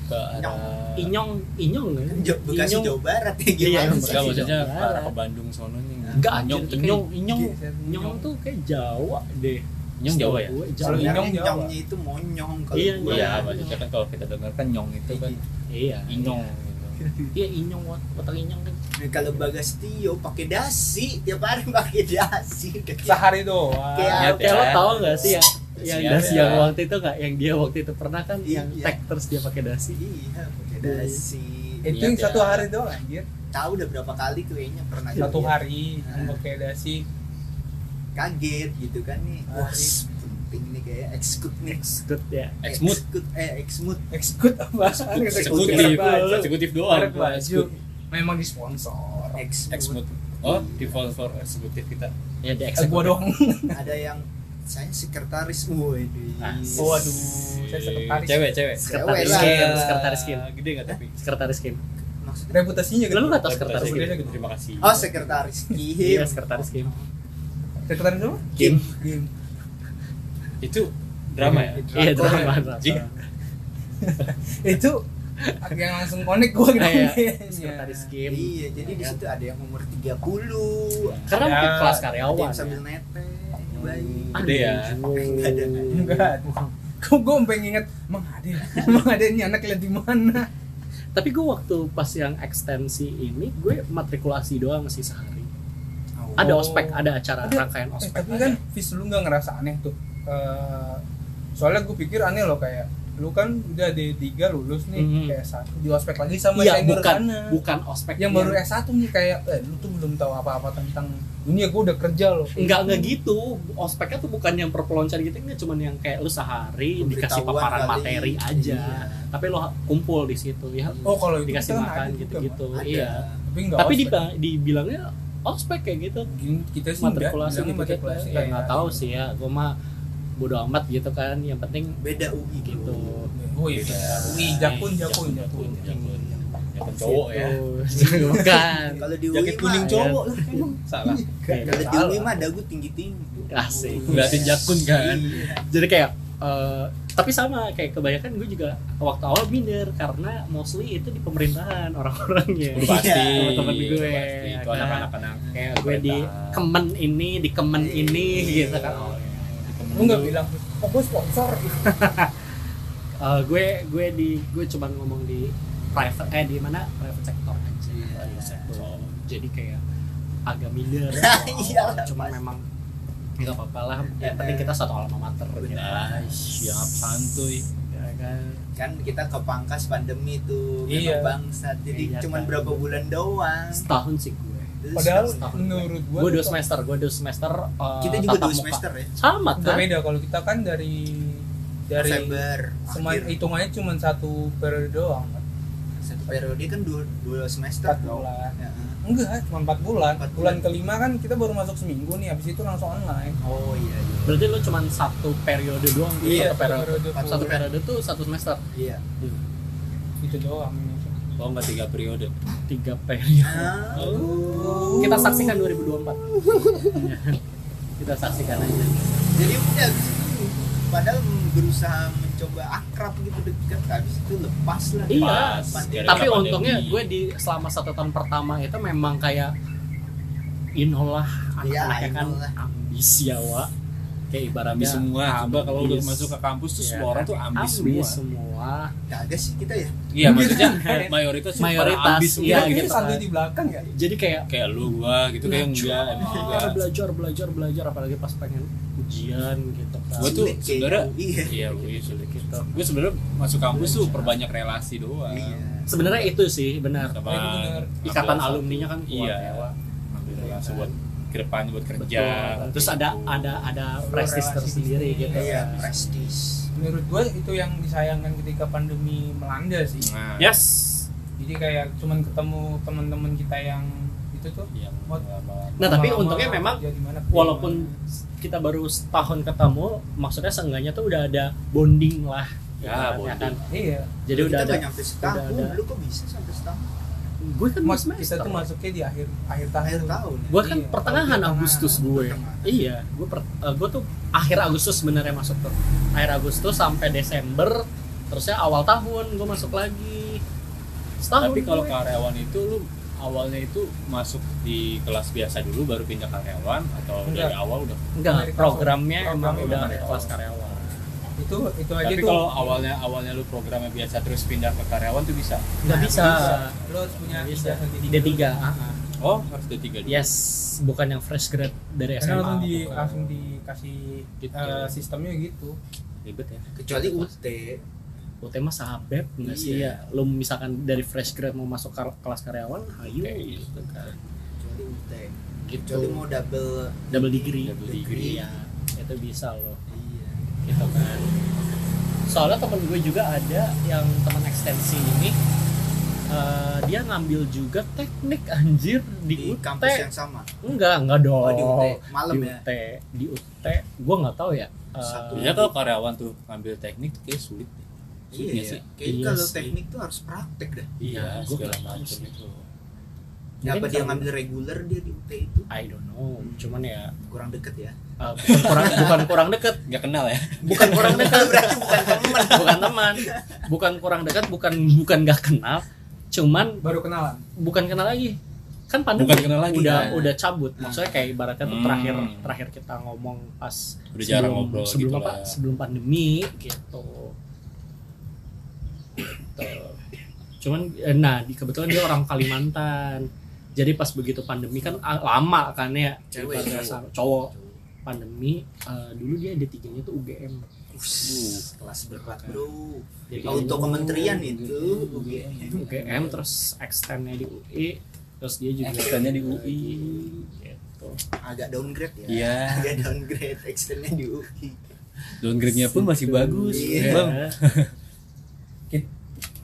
ke arah
Inyong, inyong kan?
Jo- Bekasi Jawa Barat ya
Iya, Bekasi
gimana
Jawa
Enggak
sih?
maksudnya ke
Barat.
arah ke Bandung sono nih.
Enggak anjing,
nyong tuh kayak-
Ah, inyong, Iya, inyong,
Geser
inyong tuh kayak Jawa deh.
nyong Jawa
Setahu gue,
ya?
Jawa.
Kalau
Sebenarnya
Inyong Jawa.
nyongnya itu monyong kalau
Iya,
gua.
Iya, maksudnya kan kalau kita dengar kan nyong itu kan
Iya.
inyong gitu.
Iya inyong, wat- watak inyong kan.
Nah, kalau Bagas Tio pakai dasi tiap hari pakai dasi Kayak-
Sehari doang.
Kayak
Kayak-
ya.
lo tau gak sih yang yang
Siap,
dasi
ya.
yang waktu itu nggak yang dia waktu itu pernah kan
Iya,
yang
iya.
tag terus dia pakai dasi
iya pakai dasi
Iya.
Itu
Niat
yang satu
ya.
hari doang anjir. Iya. Ah.
tahu udah berapa kali tuh kayaknya pernah
Satu
lihat.
hari yang pakai dasi
kaget gitu kan nih wah
Hari.
s- penting nih kayak ekskut nih
Good ya
Exmut,
Ekskut, eh eksmut
ekskut apa?
eksekutif,
baju.
eksekutif doang.
Merek baju. Memang disponsor.
eksmut
Exmut. Oh, di for eksekutif kita.
ya di
Eh, gua doang.
ada yang saya sekretaris woi
Asik.
Waduh, saya sekretaris.
Cewek, cewek.
sekretaris
Cewek
game
lah.
sekretaris game
Gede nggak tapi?
sekretaris game
maksudnya
Reputasinya gitu.
Lalu nggak tahu sekretaris
Reputasi.
game
gitu.
Terima kasih.
oh sekretaris
iya
kim
sekretaris game
Sekretaris apa?
game
Game.
Itu drama ya?
iya drama
Jing.
drama.
Itu yang langsung connect gua gitu.
Ah, iya.
kayaknya.
sekretaris game
iya jadi di
Iya.
situ ada yang umur 30
karena
Ya.
mungkin kelas
ada
karyawan Iya.
yang sambil neteh
Hmm.
bayi
Ada ya?
Nggak ada,
ya.
nggak ada.
Enggak. Kok gua sampai nginget Mang Ade. Mang Ade ini anak lihat di mana?
tapi gue waktu pas yang ekstensi ini gue matrikulasi doang masih sehari ada
Oh.
ospek ada acara
Ada.
rangkaian
Eh,
ospek
tapi kan Fis lu nggak ngerasa aneh tuh. Eh, soalnya gue pikir aneh loh kayak lu kan udah D3 lulus nih
Mhm.
kayak satu di ospek lagi sama
iya
senior
bukan
sana.
bukan Iya. ospek
yang baru S1 nih kayak eh, lu tuh belum tahu apa-apa tentang dunia gue udah kerja loh
Enggak enggak gitu. Ospeknya tuh bukan yang perpeloncoan gitu, enggak cuman yang kayak lu sehari dikasih
Pemberitahuan
paparan
kali.
materi aja.
Iya.
Tapi lu ha- kumpul di situ ya.
oh kalau itu
dikasih
kita
makan
ada juga,
gitu-gitu.
Ada.
Iya.
Mak. tapi enggak
Tapi diba- dibilangnya ospek kayak gitu.
kita sih
Matrikulasi
enggak bilangnya
gitu gitu.
matrikulasi Iya,
Ya
kayak
enggak tahu sih ya. Gua mah bodo amat gitu kan. Yang penting
beda UI
gitu. Eh,
gitu
oh iya wih jakun
Iya,
jakun jakun
Jakun. Jakun cowok ya.
Gitu. bukan.
kalau di UI
Jaket kuning
Iya.
mah
cowok lah emang. Salah.
kalau di
Salah.
UI mah dagu Iya, tinggi tinggi
Asik.
Ngeliatin jakun kan.
Jadi kayak eh, tapi sama kayak kebanyakan gue juga waktu awal minder karena mostly itu di pemerintahan orang-orangnya.
Udah pasti.
Teman-teman Iya, gue.
Udah pasti. Itu
Nah,
anak-anak anak.
kayak gue di kemen ini di kemen ini gitu kan oh, ya.
lu nggak bilang oh gue sponsor
Eh, gue gue di gue cuman ngomong di private eh di mana private sector aja Private sector. jadi kayak agak minder
Iya,
cuma
pasti.
memang nggak apa-apa lah yang penting kita satu alma mater gitu.
Siap santuy.
Ya kan
kan kita ke pangkas pandemi tuh
Iya.
memang bangsat jadi
Iya,
cuman
kan.
berapa bulan doang
setahun sih gue
Terus
padahal
Setahun.
menurut gue
gue Iya, dua semester gue dua semester eh,
kita juga
tatap
dua
muka.
semester ya
sama
udah
kan
beda kalau kita kan dari dari
November
cuma
akhir.
hitungannya cuma satu periode doang
satu periode kan dua, dua semester
empat
dong
bulan
Ya.
enggak cuma empat bulan
Empat
bulan
bulan.
kelima kan kita baru masuk seminggu nih habis itu langsung online
oh iya iya.
berarti lu cuman satu periode doang gitu, satu periode
Satu
satu
full.
periode tuh satu semester
iya
itu doang
Kalau nggak tiga periode.
tiga periode
Ah,
kita saksikan 2024 kita saksikan aja
jadi udah abis itu, padahal mm, berusaha mencoba akrab gitu dekat habis itu lepas lah
Iya.
Pandai-
Gara-gara
tapi
pandemi.
untungnya gue di selama satu tahun pertama itu memang kayak inolah
Iya,
anak-anaknya kan
inolah.
ambis ya wa kayak
Ambis
ibaratnya
semua, hamba Iya. kalau udah
Ambis.
masuk ke kampus tuh
Iya.
semua orang tuh ambis,
ambis
semua.
semua
kagak sih kita ya
Iya maksudnya mayoritas super
Mayoritas,
ambis semua.
iya,
Kayaknya
gitu
santuy
kan.
di belakang ya
jadi kayak
Kayak lu gua gitu kayak enggak, emang enggak.
Ah, belajar belajar belajar apalagi pas pengen ujian gitu kan
Gua tuh
Sulit kayaknya.
sebenarnya-
iya
Iya, gue sulit.
gitu
Gue sebenarnya masuk kampus tuh perbanyak relasi doang.
iya
sebenarnya itu sih benar
Sama
Iya, bener.
ikatan
ngambil-
alumninya kan kuat
Iya.
ya Wak.
Ngambil relasi buat ke depannya buat
betul
kerja. gitu.
terus ada ada ada prestis
relasi
tersendiri
sendiri,
gitu kan.
iya prestis
menurut gue itu yang disayangkan ketika pandemi melanda sih
Nah,
yes
jadi kayak cuman ketemu teman-teman kita yang itu tuh
yang
What?
lama-lama.
nah tapi
lama-lama
untungnya memang
kerja gimana, kerja
walaupun
gimana.
kita baru setahun ketemu maksudnya seenggaknya tuh udah ada bonding lah ibaratnya
Ya,
kan.
bonding.
iya
jadi udah ada
kita nggak nyampe setahun
udah ada.
lu kok bisa sampai setahun
gue kan
mas
semester.
kita tuh masuknya di akhir akhir tahun
akhir tahun
gue kan
Iya,
pertengahan
pertengahan.
Agustus gue
Pertengahan.
iya gue per, eh, gue tuh akhir Agustus sebenarnya masuk tuh akhir Agustus sampai Desember terusnya awal tahun gue masuk lagi setahun
Tapi kalau
gue.
karyawan itu lu awalnya itu masuk di kelas biasa dulu baru pindah karyawan atau dari
Enggak.
awal udah
enggak
dari kelas-
programnya emang
programnya
udah
dari
kelas
awal.
karyawan
itu itu aja
tapi
tuh
kalau awalnya awalnya lu programnya biasa terus pindah ke karyawan tuh bisa
Nah, nggak bisa
lo harus punya
Nggak bisa.
ijazah
di
D3
D3
dulu.
ah, ah.
oh harus D3 dulu
yes bukan yang fresh grade dari
karena
SMA
langsung di
bukan.
langsung dikasih
Ya, Gitu.
eh, sistemnya gitu
ribet ya
kecuali UT
UT mah sahabat nggak sih
Iya.
ya lu misalkan dari fresh grade mau masuk kar- kelas karyawan ayo
Kayak gitu kan
kecuali UT
gitu
kecuali mau double
double degree
Double
degree.
Iya, itu bisa loh
iya
gitu kan soalnya temen gue juga ada yang teman ekstensi ini eh, dia ngambil juga teknik anjir
di
di, UT
kampus yang sama
enggak enggak dong
oh di UT
di
malam ya
UT di UT gue nggak tahu ya eh,
Satu.
Sebenarnya Iya, kalau karyawan tuh ngambil teknik tuh kayak sulit deh. Sulit
iya
nggak sih?
kayaknya
Iya
kalau
sih.
teknik tuh harus praktek dah
Iya,
Iya, gua
segala
nggak tahu
macam
sih.
itu.
mungkin
apa dia
karena-
ngambil Hmm. reguler dia di UT itu
I don't know cuman ya
kurang deket ya
eh, bukan kurang bukan kurang deket
Nggak kenal ya?
bukan kurang dekat
berarti bukan teman
bukan teman bukan kurang dekat bukan bukan nggak kenal cuman
baru kenalan
bukan kenal lagi kan pandemi
Bukan kenal lagi,
udah
kan?
udah cabut maksudnya kayak ibaratnya tuh
Hmm.
terakhir terakhir kita ngomong pas
Udah jarang ngobrol
sebelum
gitu
apa
lah.
sebelum pandemi gitu Gitu. cuman eh, nah di kebetulan dia orang Kalimantan jadi pas begitu pandemi kan ah, lama kan ya
Cewek,
Ibaratnya
cowok.
sama- cowok pandemi eh, dulu dia D3 nya tuh UGM Iya.
kelas berat bro
Jadi
auto Oh, kementerian itu
Iya.
iya.
UGM terus extendnya di UI terus dia juga
Extendnya di UI.
gitu
agak downgrade ya
Iya.
agak downgrade externnya di UI
Downgrade-nya Ya pun masih bagus.
Iya.
Bang,
Kit-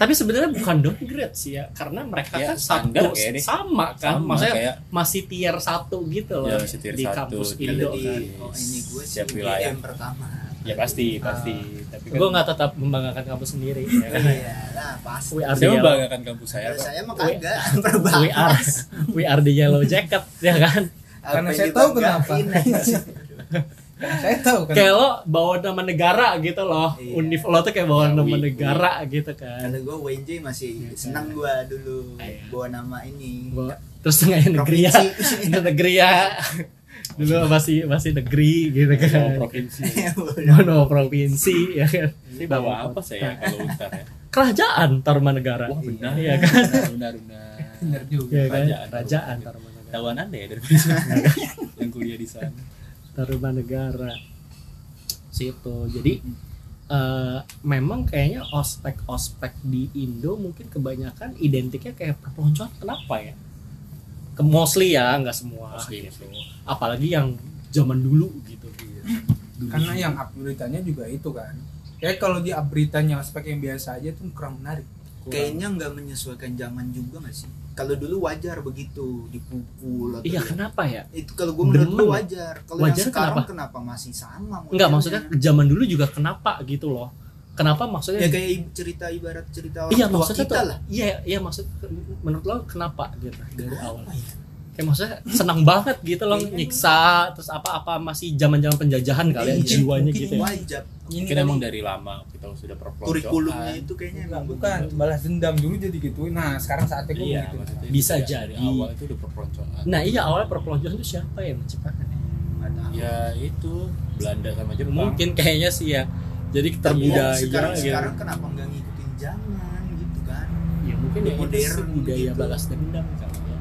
Tapi sebenarnya bukan downgrade sih ya, karena mereka
Ya,
kan
standar
satu
kayaknya.
sama kan,
Sama,
maksudnya
kayak-
masih tier satu gitu loh
Ya, masih tier
di
satu.
kampus
Kalau
Indo
kalau di
kan.
oh, ini gue sih
Siap wilayah.
UGM pertama
ya pasti, pasti. Tapi kan
Gue nggak tetap membanggakan kampus sendiri. Ya kan?
iya lah pasti
We are the
saya
yellow,
membanggakan kampus saya,
Kalau
Pak.
saya mah
We-
kagak
we
perbahas
are, we are the yellow jacket ya kan.
Apa
Karena
yang
saya tahu
dibanggain aja.
saya tahu kan
Kayak lo bawa nama negara gitu loh,
Iya.
univ lo tuh kayak bawa
Ya,
nama
we-
negara gitu kan.
Kalau gue WNJ masih
Iya.
senang gue dulu
Iya.
bawa nama ini.
Bawa- Terus nggak negeri ya,
Provinsi.
negeri ya. Dulu masih masih negeri gitu
Kalau
kan.
provinsi.
Bawa nama-
Mono Iya, provinsi ya kan.
Saya bawa apa saya kalau untar ya?
Kerajaan Taruma Negara.
Wah, benar.
Iya kan?
Benar, benar.
bener juga
Iya kan?
Kerajaan.
Kerajaan Taruma Negara.
Tahuan Anda ya dari sana. yang kuliah di sana.
Taruma Negara. Situ. Jadi eh, memang kayaknya ospek-ospek di Indo mungkin kebanyakan identiknya kayak perpeloncoan kenapa ya? Ke mostly ya, nggak semua.
Asli, asli.
Apalagi yang zaman dulu gitu. Dulu.
karena yang up beritanya juga itu kan kayak kalau di up beritanya aspek yang biasa aja tuh kurang menarik
Kayaknya nggak menyesuaikan zaman juga nggak sih? Kalau dulu wajar begitu dipukul atau
Iya,
di-
kenapa ya?
itu kalau gue menurut
Demen.
gue wajar. Kalau yang
Wajar
sekarang kenapa? masih sama?
Enggak,
modelnya?
maksudnya zaman dulu juga kenapa gitu loh. Kenapa maksudnya
ya kayak i- cerita ibarat cerita orang
Iya
tua
maksudnya
kita
tuh,
lah.
Iya, iya maksud menurut lo kenapa gitu dari awal?
Kenapa ya? Iya kan?
kayak maksudnya senang banget gitu loh nyiksa terus apa-apa masih zaman-zaman penjajahan kali ya
Mungkin-
jiwanya
Iya, mungkin
gitu ya.
wajib.
ini
mungkin
kali
emang dari lama kita sudah perpeloncoan
kurikulumnya itu kayaknya
bukan,
emang
bukan balas dendam dulu jadi gitu nah sekarang saatnya gue
iya
begitu
maksudnya
Bisa
dari
jadi.
awal itu udah perpeloncoan
nah iya awalnya perpeloncoan itu siapa yang menciptakan ya?
Nggak tahu.
ya itu Belanda sama Jepang
mungkin kayaknya sih ya jadi
Iya,
terbudaya
sekarang
gitu.
sekarang kenapa nggak ngikutin zaman gitu kan
ya mungkin ya itu
modern
sih budaya
gitu.
balas dendam kali ya.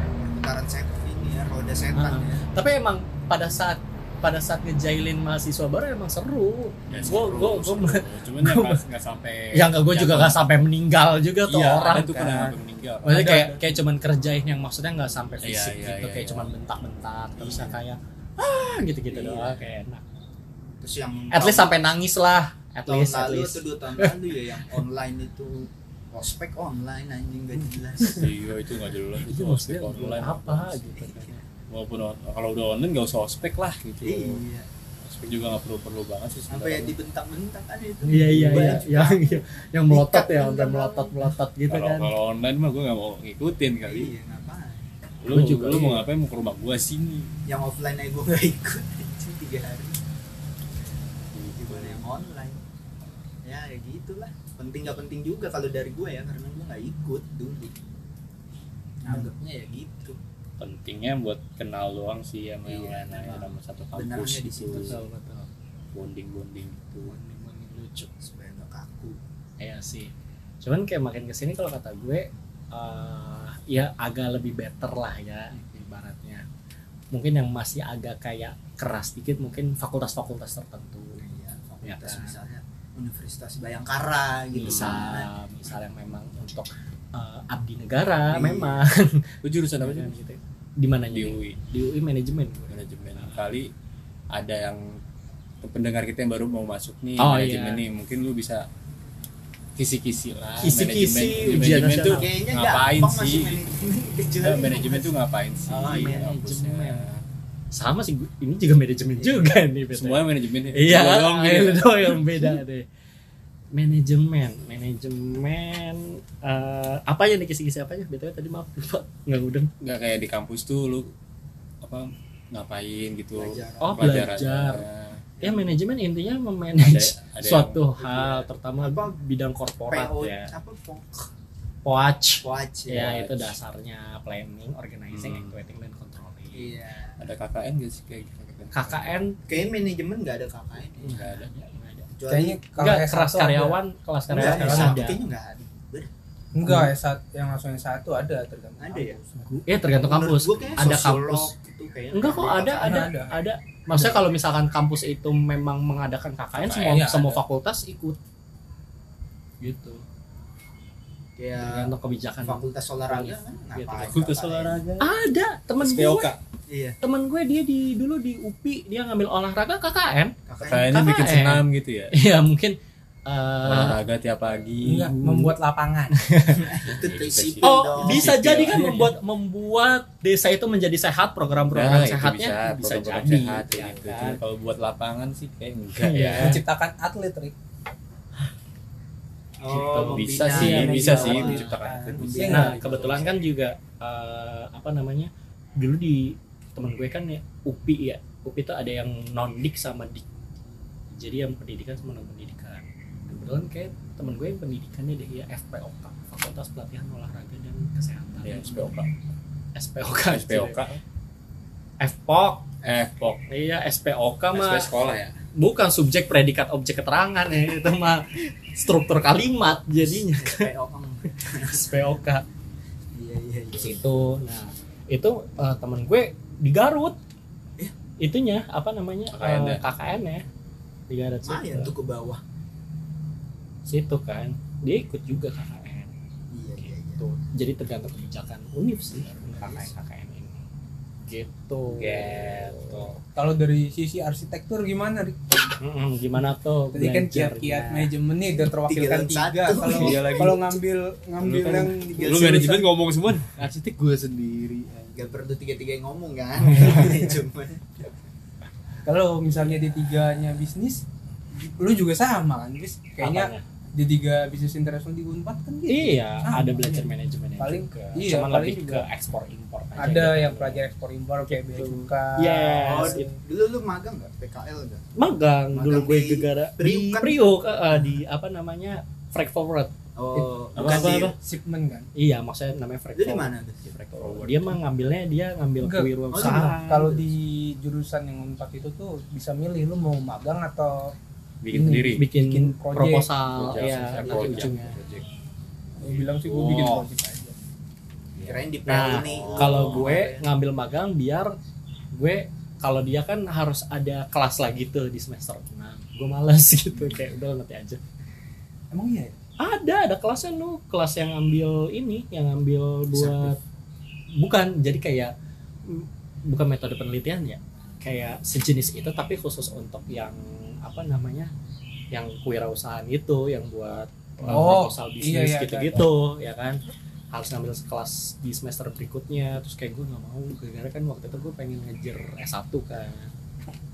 perputaran setan ini ya roda setan
Ah.
ya
tapi emang pada saat pada saat ngejailin mahasiswa baru emang seru
ya,
Gua-
seru,
gua- gua-
seru. cuman ya pas nggak sampai
yang gue juga
jatuh.
gak sampai meninggal juga tuh
iya,
orang
ada tuh
kan.
pernah sampai meninggal
Maksudnya
Ada,
kayak
ada.
kayak cuman kerjain yang maksudnya nggak sampai
Iya,
fisik
iya,
gitu,
iya,
kayak
iya.
cuman bentak-bentak terus
Iya.
ya kayak ah gitu-gitu
Iya.
doang kayak enak.
terus yang
At least sampai nangis lah. At
tahun
least, at
lalu
least.
atau dua tahun lalu ya yang online itu ospek online anjing gak jelas
iya itu nggak jelas itu
Itu
ospek
maksudnya
online
apa gitu kan.
walaupun on- kalau udah online nggak usah ospek lah gitu
iya
ospek juga nggak perlu perlu banget sih
sampai ya
sebenarnya.
dibentak-bentak ada itu
Iya iya iya
Banyak
yang yang- yang melotot
Ikat
ya
yang
sampai
dalam.
melotot melotot gitu
kalau
kan.
kalau online mah gue nggak mau ngikutin
juga.
kali
iya ngapain
lu
Gua juga
juga lu
iya.
mau ngapain mau ke rumah gue sini
yang offline aja gue gak ikut anjing tiga hari gimana yang online ya ya gitulah penting gak penting juga kalau dari gue ya karena gue nggak ikut dulu anggapnya ya gitu
pentingnya buat kenal doang sih sama yang
Iya,
lain lain
kenal.
sama satu
Benarnya
kampus
di situ.
gitu
Betul, betul.
bonding bonding gitu
Momen-momen lucu.
supaya gak kaku
Iya sih. Cuman kayak makin kesini kalau kata gue, eh ya agak lebih better lah ya ibaratnya. Mungkin yang masih agak kayak keras dikit mungkin fakultas-fakultas tertentu.
ya, fakultas
Ya kan?
misalnya Universitas Bayangkara
Iya.
gitu
Bisa,
sana
misal yang memang untuk eh, abdi negara
Iya.
memang.
lu jurusan apa sih
Kan gitu. Di mananya?
di
Di,
UI
di UI manajemen. gue.
manajemen kali ada yang pendengar kita yang baru mau masuk nih
Oh,
manajemen
iya.
nih mungkin lu bisa kisi-kisi lah
Kisi-kisi
manajemen,
ujian
manajemen tuh
nasional.
kayaknya
ngapain
gampang
sih
masih manajemen
Eh,
kecuali
manajemen tuh ngapain sih
Oh, iya.
kampusnya?
Manajemen. Sama sih, gue- ini juga manajemen juga nih. BTW.
semuanya manajemen
Iya,
Gua Iya. doang gitu.
itu doang yang beda deh. Manajemen, manajemen eh apa ya nih kisi-kisi apanya? BTW tadi maaf lupa nggak udeng.
nggak kayak di kampus tuh lu apa ngapain gitu
Pelajaran.
Oh, belajar. Ya manajemen intinya memanage
Ada- ada
suatu
yang- ya.
hal, terutama
Apa?
bidang korporat
PO
ya.
apa pok
Poach.
Coach
Ya,
Poach.
itu dasarnya planning, organizing,
Hmm.
actuating dan controlling.
iya
ada KKN gak sih kayak gitu
KKN
kayaknya manajemen nggak ada kakaknya deh.
Hmm.
nggak ada
nggak ada.
kecuali
gitu. kayaknya kalau
Nggak,
S1
kelas
ada.
karyawan, kelas
Nggak,
karyawan
Nggak,
kelas
S1
ada.
kayaknya nggak ada
enggak
Hmm.
S1 yang langsung S1 ada Iya. tergantung
Ada ya?
kampus.
Ya tergantung kampus.
Menurut gua kayaknya
Ada
sosiolog
kampus.
gitu kayaknya
Enggak kok ada ada
Ada.
ada. Maksudnya kalau misalkan kampus itu memang mengadakan KKN semua
Iya,
semua
ada.
fakultas ikut. Gitu.
kayak
Tergantung kebijakan.
fakultas olahraga kan
Iya,
ngapain
fakultas
kakaknya?
olahraga
Ada temen
SPOK
gue,
iya
temen gue dia di dulu di UPI dia ngambil olahraga KKN.
kakaknya
kayaknya bikin
KKN.
senam gitu ya
Iya mungkin eh
olahraga tiap pagi
Enggak, Iya, membuat lapangan
Eh.
itu
Iya,
TCP
Oh,
dong.
bisa
Sipil.
jadi kan
Iya, iya.
membuat membuat desa itu menjadi sehat program-program
Nah, itu
sehatnya bisa,
program-program
jadi.
sehat,
ya
gitu.
kan?
Cuman kalau buat lapangan sih kayak enggak
Iya.
ya
menciptakan atlet Rick
Oh, membina
bisa sih
manajemen
bisa sih
lapangan.
menciptakan atlet bisa
Iya,
Nah,
gitu.
kebetulan kan juga eh, apa namanya? Dulu di teman gue kan ya UPI ya. UPI itu ada yang non dik sama dik. Jadi yang pendidikan sama non pendidikan. Kebetulan kayak teman gue yang pendidikannya deh ya FPOK, Fakultas Pelatihan Olahraga dan Kesehatan.
ya SPOK
SPOK.
SPOK
FPOK.
eh pok
Iya, SPOK mah
SPOK sekolah ya
bukan subjek predikat objek keterangan ya, itu mah struktur kalimat jadinya
PO kan.
SPOK.
iya iya
di
iya
situ. Nah, itu eh, temen gue di Garut. Itunya apa namanya?
KKN -nya.
eh, KKN ya. Di Garut situ.
lumayan tuh ke bawah
Situ kan. Dia ikut juga KKN.
iya iya iya
Gitu. Jadi tergantung kebijakan univ sih KKN KKN ini. Gitu. Gitu.
kalau dari sisi arsitektur gimana Rick?
Mm-mm, gimana tuh?
Tadi kan
belajarnya?
kiat-kiat manajemen nih udah
Tiga
terwakilkan
lawan
tiga.
satu.
Kalau
ya. Iya lagi.
kalau ngambil ngambil
Lu kan-
yang
Iya,
lu
sih,
manajemen
jurusan-
ngomong semua arsitek gue sendiri
nggak perlu tiga tiga yang ngomong kan cuma
Kalau misalnya di tiganya bisnis, lu juga sama kan, bis? Kayaknya
Apanya?
di tiga bisnis internasional di Unpad kan gitu.
Iya,
Sama,
ada belajar manajemen yang
Paling-
juga.
iya,
Cuman
paling
lebih ke
juga.
ekspor impor aja.
Ada
gitu.
yang pelajar ekspor impor kayak bea
Betul.
cukai.
Yes.
Oh,
Iya.
di- dulu lu magang nggak? PKL nggak?
magang dulu
Magang
gue
di
gegara
Priuk
di
kan?
Priuk eh, eh, di apa namanya freight forward.
Oh,
Apa,
bukan
apa,
di-
apa?
Shipment kan.
Iya, maksudnya namanya freight
Lu di
forward.
mana? Gus?
Di freight forward. Dia mah ngambilnya dia ngambil
Enggak.
kuir
Oh,
usaha.
Kalau di jurusan yang Unpad itu tuh bisa milih lu mau magang atau
bikin Oh, iya,
Ini,
sendiri
bikin,
bikin project.
proposal
Project,
ya
project,
nanti
project,
ujungnya.
project.
lu
Gitu.
bilang sih gua bikin
Oh.
project aja.
Kirain di
Nah,
PL nih. lu.
kalau gue ngambil magang biar gue kalau dia kan harus ada kelas lagi tuh di semester 6 gue males gitu kayak udah nanti aja
Emang iya ya?
ada ada kelasnya lu kelas yang ngambil ini yang ngambil buat bukan jadi kayak mm, bukan metode penelitian ya kayak sejenis itu tapi khusus untuk yang apa namanya yang kewirausahaan itu yang buat uh,
Oh,
proposal
iya,
bisnis
iya,
gitu-gitu ya kan harus ngambil kelas di semester berikutnya terus kayak gue nggak mau gara-gara kan waktu itu gue pengen ngejar S1 kan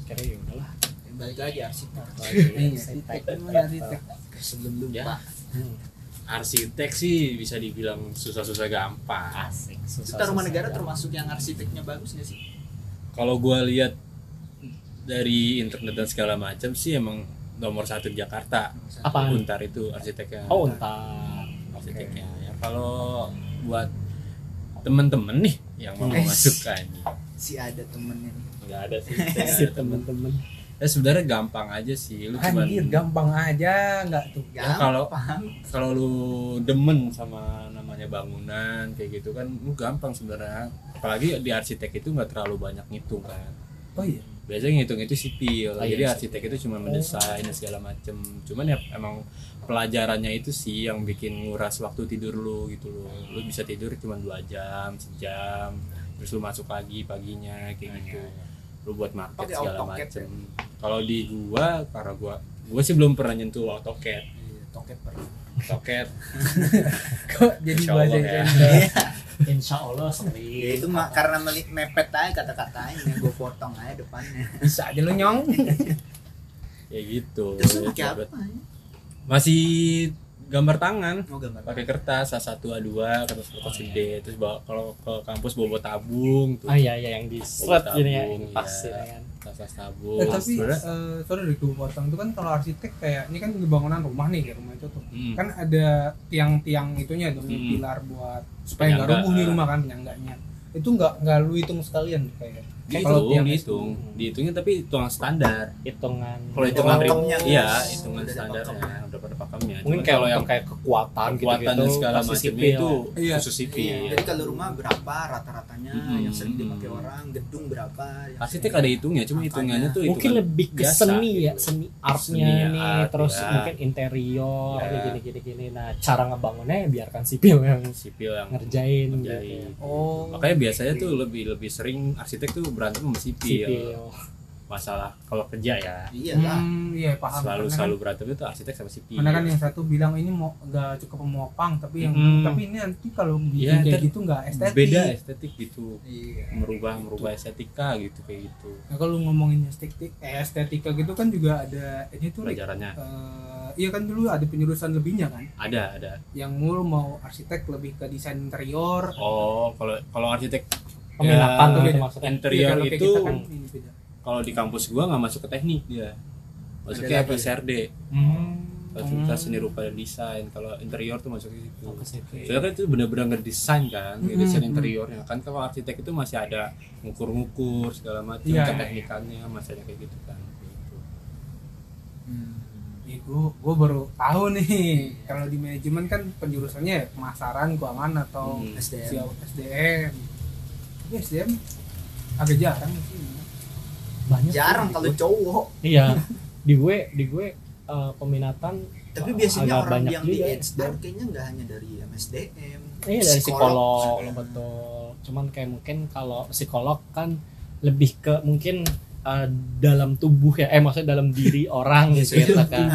kayaknya ya udahlah
Eh, balik lagi arsitek.
Iya,
arsitek.
arsitek. Emang arsitek.
Sebelum lu
Ya.
Pak.
Hmm,
arsitek sih bisa dibilang susah-susah gampang
asik
Itu
susah
Taruman Negara termasuk yang arsiteknya bagus nggak sih?
kalau gua lihat dari internet dan segala macam sih emang nomor satu di Jakarta
Apaan?
Untar itu arsiteknya
oh entar
arsiteknya ya kalau buat temen-temen nih yang
Eh.
mau
Hmm.
masuk kan
Si ada temennya nih.
nggak ada sih
Iya,
si temen-temen
ya sebenarnya gampang aja sih lu cuman
Anjir, gampang aja nggak tuh.
Ya, kalau kalau lu demen sama namanya bangunan kayak gitu kan lu gampang sebenarnya apalagi di arsitek itu nggak terlalu banyak ngitung kan
Oh iya.
biasanya ngitung itu sipil
Oh, iya,
jadi
sipil.
arsitek itu cuma mendesain dan segala macem cuman ya emang pelajarannya itu sih yang bikin nguras waktu tidur lu gitu loh lu bisa tidur cuma dua jam sejam terus lu masuk pagi paginya
Ah, iya,
kayak gitu lu buat market
Pakai
segala
AutoCAD
ya?
macem kalau di gua karena gua gua sih belum pernah nyentuh AutoCAD
Iya, toket pernah.
AutoCAD
Kok jadi
Insya
bahasa
Allah ya.
Indonesia?
insya Allah
Ya,
sering
itu mah karena meli- mepet aja kata-katanya, gue potong aja depannya.
Bisa aja lu nyong.
ya
Oh,
gitu
Terus lu
Ya,
pakai apa?
buat- masih gambar tangan
Mau gambar. apa?
pakai kertas A1 A2 kertas kertas gede terus bawa kalau ke kampus bawa tabung tuh
ah iya iya yang di seret
Tabung,
gini ya
iya.
pasti kan
kertas tabung
Eh, tapi
Sebenarnya-
eh sorry dari gue potong itu kan kalau arsitek kayak ini kan bangunan rumah nih kayak rumah itu tuh
Hmm.
kan ada tiang-tiang itunya tuh
Hmm.
pilar buat supaya nggak
Penyangga.
rubuh nih rumah kan penyangganya itu nggak nggak lu hitung sekalian kayak
dihitung
kalau tiang-
dihitung Hmm. dihitungnya tapi hitungan standar
hitungan
kalau
Hitung
hitungan ribu
pakemnya.
iya
Udah
hitungan ya.
ada
standarnya
pakemnya.
udah pada pakemnya
mungkin
Cuman
kalau
kalau
yang kayak kekuatan gitu
kekuatan
gitu
dan segala macamnya itu
Iya.
khusus
Iya,
sipil
Jadi kalau rumah berapa rata-ratanya
Hmm.
yang sering dipakai orang, gedung berapa? yang
arsitek
sering-
ada hitungnya cuma hitungannya tuh
mungkin
hitungan
lebih ke
biasa
seni ya
gitu.
seni artnya
Seni
nih
art,
terus
ya.
mungkin interior
Ya.
kayak gini gini gini nah cara ngebangunnya ya biarkan sipil yang
sipil yang
ngerjain, gitu
ngerjain.
oh
makanya biasanya tuh lebih lebih sering arsitek tuh berantem sama sipil
sipil
masalah kalau kerja ya
Iya lah.
hmm, iya paham
selalu
Karena kan-
selalu berantem itu arsitek sama sipil
karena kan yang satu bilang ini mau nggak cukup pemopang tapi yang
Mm-mm.
tapi ini nanti kalau bikin
Hmm. Iya,
kayak
ntar
gitu nggak estetik
beda estetik gitu
Iya.
merubah merubah estetika gitu kayak gitu
Nah, kalau ngomongin estetik eh, estetika gitu kan juga ada ini tuh Rick.
pelajarannya
Eh, iya kan dulu ada penjurusan lebihnya kan
ada ada
yang mulu mau arsitek lebih ke desain interior
oh kalau kalau arsitek
penginapan
Ya,
tuh gitu
beda.
maksudnya
interior
Iya, kalau kayak
itu
kita kan ini beda.
kalau di kampus gua nggak masuk ke teknik dia masuknya
Ada lagi.
PSRD
hmm.
fakultas seni rupa dan desain kalau interior tuh masuknya
Oh,
situ
ke sipil.
soalnya
iya.
kan itu benar-benar ngedesain kan
Mm-mm.
desain interiornya kan kalau arsitek itu masih ada ngukur-ngukur segala macam
Iya, iya,
teknikannya masih ada kayak gitu kan gitu.
Hmm.
Ih, gua, gua baru tahu nih kalau di manajemen kan penjurusannya ya pemasaran keuangan atau
Hmm.
SDM.
SDM. SDM tapi SDM agak jarang sih
banyak tuh
Ya.
Jarang
di
kalau
gue.
cowok.
iya di gue di gue eh, peminatan
Tapi
Agak
biasanya orang
banyak
yang di
juga. ya.
HR kayaknya nggak hanya dari MSDM.
Iya dari psikolog,
Psikolog. Hmm.
betul. Cuman kayak mungkin kalau psikolog kan lebih ke mungkin eh, dalam tubuh ya, eh maksudnya dalam diri orang
Iya,
gitu kan.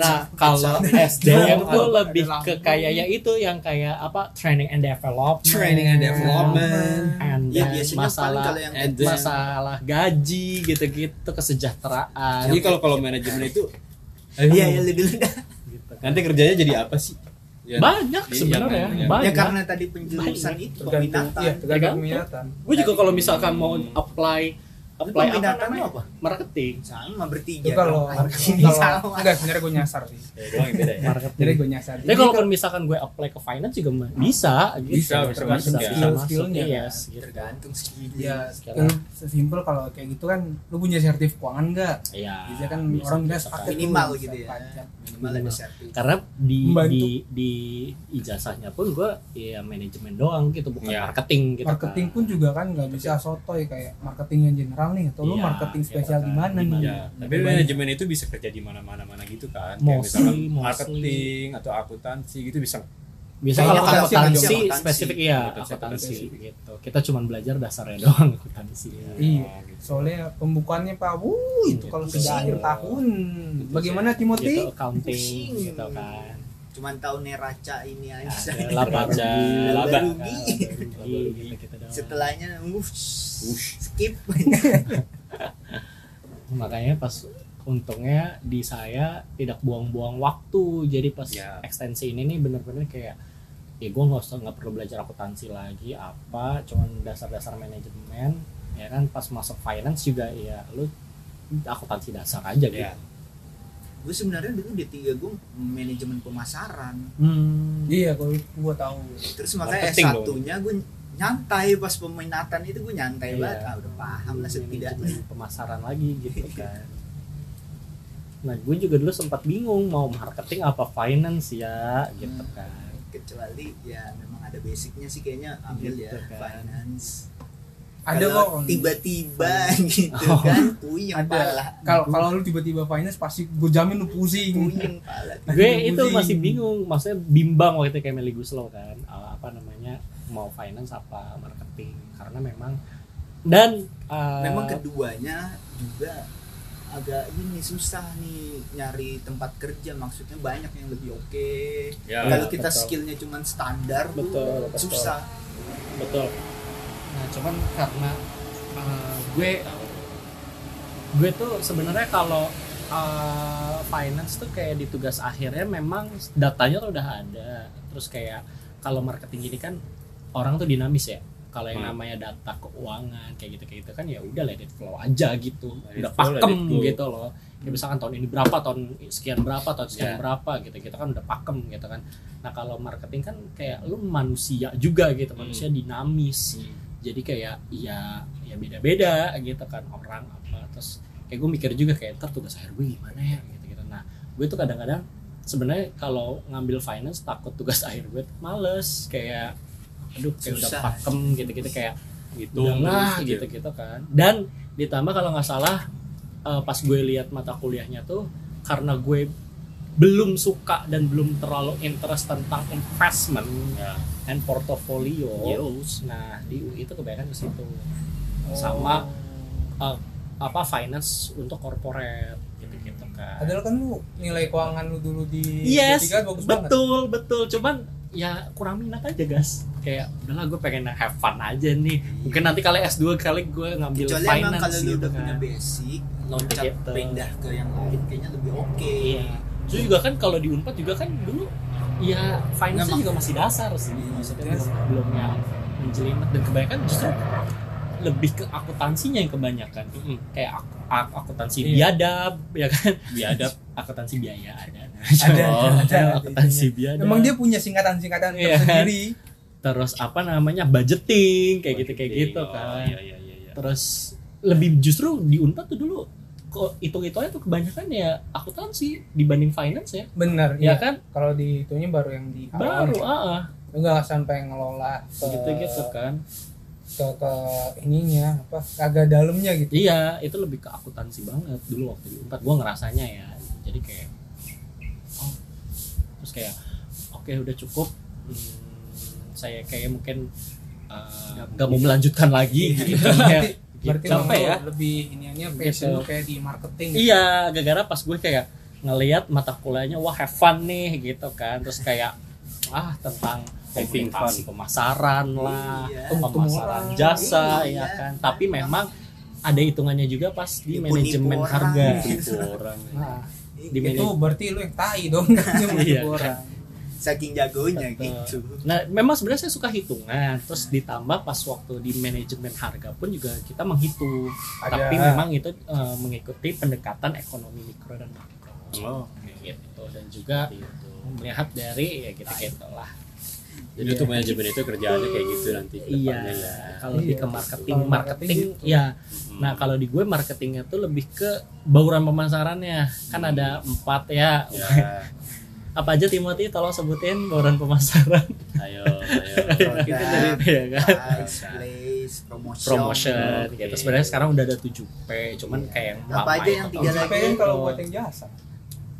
Nah kalau SDM
Ada
tuh
lampu.
lebih
Iya,
ke kayak ya itu yang kayak apa training and development,
Training and development.
and
Ya,
then
biasanya
masalah
paling kalau yang
and
advance.
masalah gaji gitu-gitu kesejahteraan
jadi kalau kalau manajemen itu
Iya, iya, lebih lega.
gitu
nanti kerjanya jadi apa sih Ya,
banyak
Iya,
sebenarnya
iya, iya.
banyak
ya karena tadi penjurusan itu
tergantung
peminatan
iya tergantung
Tergantung.
minatan
gue juga kalau misalkan mau apply
Lu
apply apa
peminatan lu
namanya
apa?
marketing
sama bertiga
itu kalau
Iya dong, anjing.
kalau
sama
enggak sebenarnya gue nyasar sih
ya doang yang beda ya
jadi
marketing
gue nyasar
tapi kalau misalkan gue apply ke finance juga mah bisa gitu.
Bisa, bisa
tergantung
masuk ya.
masuk,
Skill-skillnya
iya,
kan.
skill.
tergantung skill
ya
Sekarang.
skill sesimpel kalau kayak gitu kan lu punya sertif keuangan enggak
Iya,
biasanya kan
bisa,
orang bilang
bisa
paket
kan.
minimal
Bisa
gitu ya
pajak.
minimal ada sertifikat
karena di
Membantu.
di di ijazahnya pun gue ya manajemen doang gitu bukan
Iya.
marketing gitu
marketing
kan.
pun juga kan nggak bisa sotoy kayak marketing yang general nih atau lu
Iya,
marketing
iya,
spesial
kan.
di mana nih
Iya.
Ya, tapi manajemen itu bisa kerja di mana-mana mana gitu kan. Kayak
Mostly,
misalkan
mostly.
marketing atau akuntansi gitu bisa.
biasanya kalau
Kayaknya akuntansi,
akuntansi
akuntansi.
spesifik iya
Akuntansi,
akuntansi
akuntansi.
gitu kita cuman belajar dasarnya doang akuntansi
Iya.
Oh, gitu.
soalnya pembukaannya pak wuh itu kalau
Gitu.
sudah akhir tahun bagaimana
gitu
Timothy
accounting
Pusing.
gitu kan
cuman tahu neraca ini aja
ada laba
Rugi,
ja-
laba
laba
rugi.
rugi gitu kita doang
setelahnya wush,
Wush.
skip
makanya pas untungnya di saya tidak buang-buang waktu jadi pas
Ya.
ekstensi ini nih bener-bener kayak ya gue nggak usah nggak perlu belajar akuntansi lagi apa cuman dasar-dasar manajemen ya kan pas masuk finance juga ya lu akuntansi dasar aja gitu
Ya.
gue sebenarnya dulu di tiga gue manajemen pemasaran
Hmm.
iya kalau gua tahu
terus makanya S
Marketing dong.
satunya gue nyantai pas peminatan itu gue nyantai
Iya.
banget ah udah paham lah setidaknya
Manajemen pemasaran lagi gitu kan nah gue juga dulu sempat bingung mau marketing apa finance ya gitu
Hmm.
kan
kecuali ya memang ada basicnya sih kayaknya ambil ya
Gitu kan.
finance
ada kok
Kalau tiba-tiba gitu
Oh.
kan puyeng
Ada.
pala
kalau kalau lu tiba-tiba finance pasti gue jamin lu pusing
Iya.
puyeng pala
gue
Anjing
itu
pusing.
masih bingung maksudnya bimbang waktu itu kayak Meli Guslow kan uh, apa namanya mau finance apa marketing karena memang dan uh,
memang keduanya juga agak ini susah nih nyari tempat kerja maksudnya banyak yang lebih oke
Ya,
kalau
Iya,
kita
betul.
skillnya cuman standar tuh
Betul, betul.
susah
betul nah cuman karena uh, gue gue tuh sebenarnya kalau uh, finance tuh kayak di tugas akhirnya memang datanya tuh udah ada terus kayak kalau marketing ini kan orang tuh dinamis ya kalau yang
Hmm.
namanya data keuangan kayak gitu kayak gitu kan ya udah let it flow aja gitu
Let it
udah
flow, let
pakem
it go.
gitu loh ya misalkan tahun ini berapa tahun sekian berapa tahun sekian
Ya.
berapa gitu kita kan udah pakem gitu kan nah kalau marketing kan kayak lu manusia juga gitu manusia dinamis jadi kayak ya ya beda-beda gitu kan orang apa terus kayak gue mikir juga kayak ntar tugas akhir gue gimana ya gitu gitu nah gue tuh kadang-kadang sebenarnya kalau ngambil finance takut tugas akhir gue tuh males kayak aduh kayak udah
Susah.
pakem gitu-gitu kayak
Gitu.
udah lah
terus gitu.
gitu-gitu kan dan ditambah kalau nggak salah eh, pas gue lihat mata kuliahnya tuh karena gue belum suka dan belum terlalu interest tentang investment
Ya.
and portfolio
Yes.
nah di UI itu kebanyakan ke situ
Oh.
sama eh, apa finance untuk corporate gitu-gitu kan
padahal kan lu nilai keuangan lu dulu di
Yes,
D3 bagus banget
betul, betul. Cuman ya kurang minat aja guys. Kayak udahlah gue pengen have fun aja nih. Mungkin nanti kali S2 kali gue ngambil
kecuali emang
finance
kalau lu
gitu
udah punya
kan.
basic
Loncat
loncat
gitu.
pindah ke yang lain kayaknya lebih oke
Iya. Terus juga kan kalau di Unpad juga kan dulu ya finance
Nggak,
juga masih dasar sih.
Iya,
Maksudnya
yes.
belum, belum yang menjelimet dan kebanyakan justru lebih ke akuntansinya yang kebanyakan. Kayak ak- ak- akuntansi
Iya.
biadab ya kan.
Biadab.
akuntansi biaya ada.
ada
Oh.
ada, ada,
akuntansi biadab.
Emang dia punya singkatan-singkatan
Iya.
tersendiri.
terus apa namanya budgeting kayak gitu kayak gitu
Oh,
kan
Iya iya iya. iya.
terus lebih justru di Unpad tuh dulu kok hitung hitungannya tuh kebanyakan ya akuntansi dibanding finance ya
Bener,
ya
iya.
kan
Kalau di itunya baru yang di awal.
baru ah ah.
Lu nggak sampai ngelola ke,
gitu gitu kan
ke, ke ininya apa agak dalamnya gitu.
iya itu lebih ke akuntansi banget dulu waktu di Unpad gua ngerasanya ya jadi kayak oh. terus kayak oke udah cukup Hmm, saya kayak mungkin eh, nggak mau melanjutkan lagi gitu ya
Iya. Berarti
Capek
memang lu
ya.
lebih iniannya passion
Gitu.
lu kayak di marketing.
Iya, gara-gara pas gue kayak ngelihat mata kuliahnya wah have fun nih gitu kan. Terus kayak ah tentang
Having
komunikasi pemasaran lah,
Iya.
Ketemu
pemasaran
orang.
jasa
Iya.
ya kan. Tapi memang ada hitungannya juga pas di
Nipu-nipu
manajemen
orang.
harga.
Nipu orang.
Nah,
di
itu
manajemen.
berarti lu yang tai dong nggak cuma
Iya.
satu orang
saking jagonya
Betul.
gitu
Nah, memang sebenarnya saya suka hitungan. Terus ditambah pas waktu di manajemen harga pun juga kita menghitung.
Ada.
Tapi memang itu eh, mengikuti pendekatan ekonomi mikro dan makro.
Oh,
Gitu. Dan juga
gitu.
melihat dari ya kita gitu lah.
Jadi
Iya.
untuk manajemen itu kerjaannya kayak gitu nanti ke
Iya.
depannya Hmm. ya.
Kalau di
Iya.
ke marketing,
Kalau marketing
marketing,
gitu.
ya.
Mm-mm.
Nah, kalau di gue marketingnya tuh lebih ke bauran pemasarannya. Kan
Hmm.
ada empat ya.
ya,
Apa aja Timothy tolong sebutin bauran pemasaran.
ayo, ayo.
Gitu
Produk,
dari ya kan?
price, place, promotion,
promotion
Oke.
gitu. Sebenarnya sekarang udah ada 7P, cuman kayak yang
Apa
lama
aja
itu
yang
tau.
tiga
Tapi
lagi
kan kalau
itu.
buat yang jasa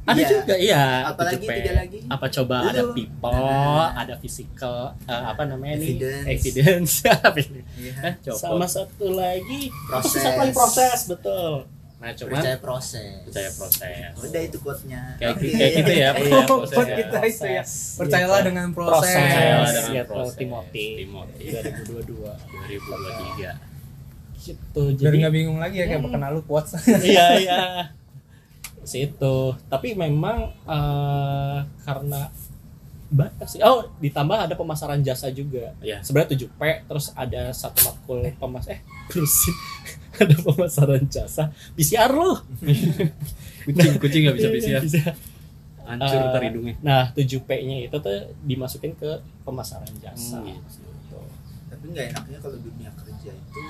Ada
Iya.
juga iya,
apalagi
7P.
tiga lagi
Apa coba ada
Belum.
people, ada physical, eh, apa namanya nih?
Evidence.
Evidence.
Iya,
Hah, coba. Sama satu lagi
Proses.
Apa sih satu lagi Eh, proses, betul. Nah, cuman
percaya proses
Percaya proses.
udah itu quote-nya
Kayak
Oke.
kayak gitu ya, percaya proses.
Buat kita itu ya
Proses.
percayalah
Gitu.
dengan proses,
proses.
Percayalah dengan
Iya,
proses.
Timothy.
Timothy.
2022
2023.
gitu.
biar
Jadi
nggak bingung lagi ya kayak
Hmm.
perkenalan lu quotes
iya iya situ tapi memang eh, karena banyak sih oh ditambah ada pemasaran jasa juga
Iya.
sebenarnya 7 p terus ada satu matkul pemas eh terusin ada pemasaran jasa PCR lu
Kucing, kucing nggak bisa
Iya,
bisa.
Bisa.
Hancur
Eh,
ntar hidungnya.
nah 7 p nya itu tuh dimasukin ke pemasaran jasa
Hmm,
gitu.
tapi nggak enaknya kalau dunia kerja itu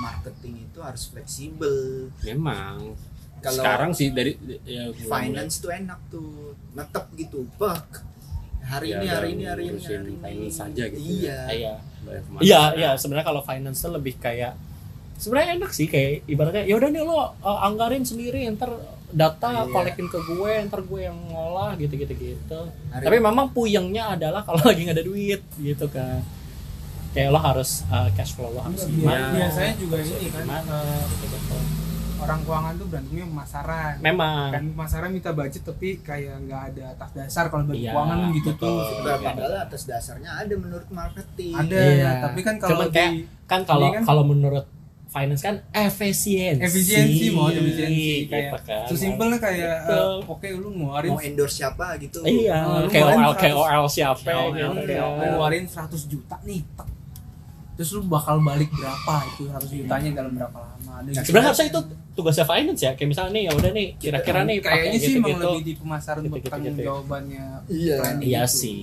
marketing itu harus fleksibel
Memang.
kalau
Sekarang sih dari ya,
finance tuh enak tuh netep gitu bak hari
Ya,
ini
ada
hari ini hari ini
ngurusin
hari ini
finance aja gitu
iya
iya
mulai- mulai
Iya,
ya.
kemana.
iya. Sebenarnya kalau finance tuh lebih kayak sebenarnya enak sih kayak ibaratnya ya udah nih lo uh, anggarin sendiri ntar data
Iya.
kolekin ke gue ntar gue yang ngolah gitu gitu gitu
Hari-
tapi memang puyengnya adalah kalau lagi nggak ada duit gitu kan kayak lo harus uh, cash flow lo
Iya.
harus gimana
biasanya juga ini kan
gimana gitu-gitu.
orang keuangan tuh berantemnya pemasaran
memang
kan pemasaran minta budget tapi kayak nggak ada atas dasar kalau bagi
Iya,
keuangan gitu
betul.
tuh
Nah,
Iya.
padahal atas dasarnya ada menurut marketing
ada
Iya.
nah, tapi kan kalau
Cuman
di
kayak- kan kalau
Ini kan-
kalau menurut finance kan efisiensi
efisiensi mau
Iya,
efisiensi
gitu
kayak
kan.
so simpelnya kayak
Betul.
eh, oke lu ngeluarin
mau endorse siapa gitu
iya
Oh, lu
KOL
ngeluarin
KOL siapa
KOL,
gitu
Lu
kan.
ngeluarin 100 juta nih tek. terus lu bakal balik berapa itu 100 jutanya dalam berapa lama ada
Nah,
gitu.
sebenarnya harusnya itu tugasnya finance ya kayak misalnya nih ya udah nih kira-kira nih pakai
Iya, kayaknya sih emang
gitu-gitu.
lebih di pemasaran
Gitu-gitu,
bertanggung
gitu-gitu.
jawabannya
Iya.
planning
iya
gitu.
sih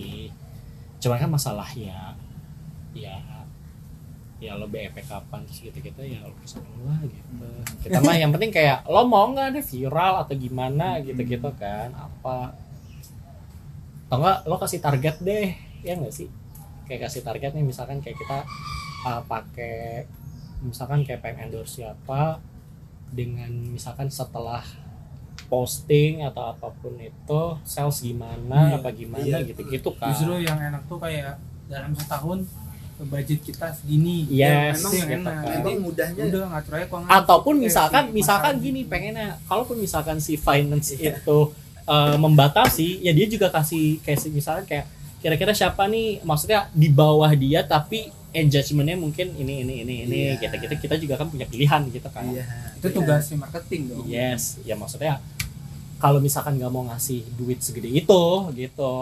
cuman kan masalahnya ya ya lo BEP kapan terus gitu gitu ya lo bisa keluar gitu kita mah yang penting kayak lo mau nggak ada viral atau
Hmm.
gimana gitu gitu kan apa atau enggak lo kasih target deh ya nggak sih kayak kasih target nih misalkan kayak kita uh, pakai misalkan kayak pengen endorse siapa dengan misalkan setelah posting atau apapun itu sales gimana
Iya,
apa gimana
iya.
gitu-gitu kan
justru yang enak tuh kayak dalam setahun budget kita segini
Yes,
Ya, emang yang
gitu
enak
kan.
Jadi,
memang mudahnya
udah ngatur aja keuangan
ataupun
Oke,
misalkan
si
misalkan
masalah.
gini pengennya kalaupun misalkan si finance
Iya.
itu eh, membatasi ya dia juga kasih kayak si- misalkan kayak kira-kira siapa nih maksudnya di bawah dia tapi engagementnya mungkin ini ini ini ini
Iya.
gitu-gitu kita juga kan punya pilihan gitu kan
iya
itu tugas si marketing dong
yes ya maksudnya kalau misalkan nggak mau ngasih duit segede itu gitu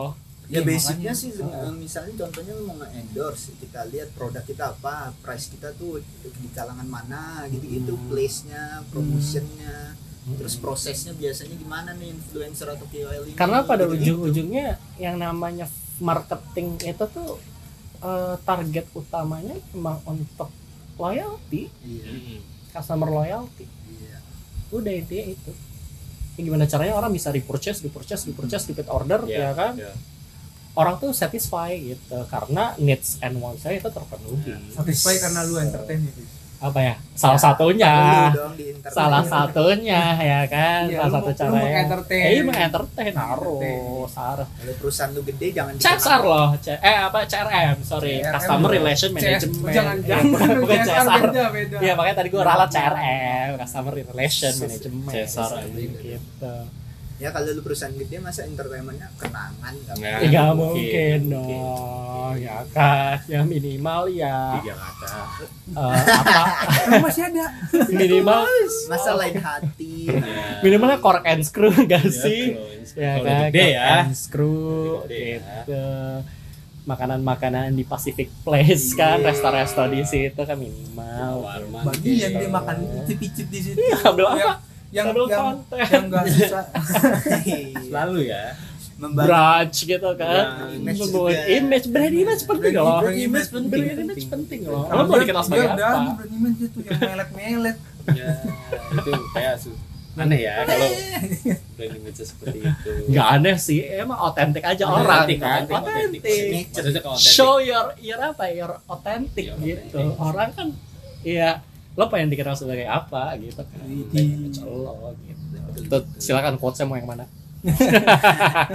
ya
Iya,
basicnya
makanya.
sih eh,
Heeh.
misalnya contohnya lu mau endorse kita lihat produk kita apa price kita tuh di kalangan mana gitu-gitu
Hmm.
place-nya promotionnya terus prosesnya biasanya gimana nih influencer atau KOL ini
karena pada
Gitu-gitu.
ujung-ujungnya yang namanya marketing itu tuh eh, target utamanya emang untuk loyalty
iya
Mm-mm.
customer loyalty
iya
udah intinya itu Ya, gimana caranya orang bisa repurchase, repurchase, repurchase, repeat order
Iya,
ya kan
iya.
orang tuh satisfy gitu karena needs and wants saya itu terpenuhi
Iya. satisfy karena lu entertain ya Fis.
apa ya salah satunya
Perlu dong di internet.
salah satunya ya kan
Iya,
salah satu
lu mau- lu
cara
mau
ya
entertain.
eh, mah entertain harus harus
kalau perusahaan lu gede jangan
CSR
dikenakan.
loh C- eh apa CRM sorry
CRM.
customer relation
CS
management
jangan
Eh,
jangan
bukan, bukan
CSR,
CSR
beda beda
Iya makanya tadi gue ralat CRM, customer relation management.
CSR,
anjing gitu.
ya kalau lu perusahaan gede masa entertainmentnya kenangan nggak
Nah,
Ya, nggak Iya, mungkin, dong.
mungkin.
Oh ya kan, ya minimal ya
tiga kata
eh, apa
Kan masih ada
minimal
masa lain hati
minimalnya cork and screw gak sih?
ya,
ya
kalau
kan
gede ya
Captain Screw
Gede ya.
gitu makanan-makanan di Pacific Place kan
Iya.
resto-resto di situ kan minimal
warman
bagian dia makan icip-icip di situ
Iya, ambil apa?
yang
Ambil
yang
konten. Iya.
yang nggak susah
selalu ya
membangun
brunch gitu kan
Brunch
image,
juga.
image brand image penting
Brand
loh
image,
image
penting,
brand image
penting.
penting loh lo mau dikenal sebagai
Dia udah
apa
berani banget tuh yang melet-melet
ya
itu kayak su- aneh ya kalau brand image seperti itu
nggak aneh sih emang otentik aja orang
Otentik,
kan
otentik, otentik.
otentik
maksudnya kalau
show your your apa your authentic
Your
gitu
authentic.
orang kan ya lo pengen dikenal sebagai apa gitu kan
Widi.
Image lo gitu Tuh, silakan quotesnya mau yang mana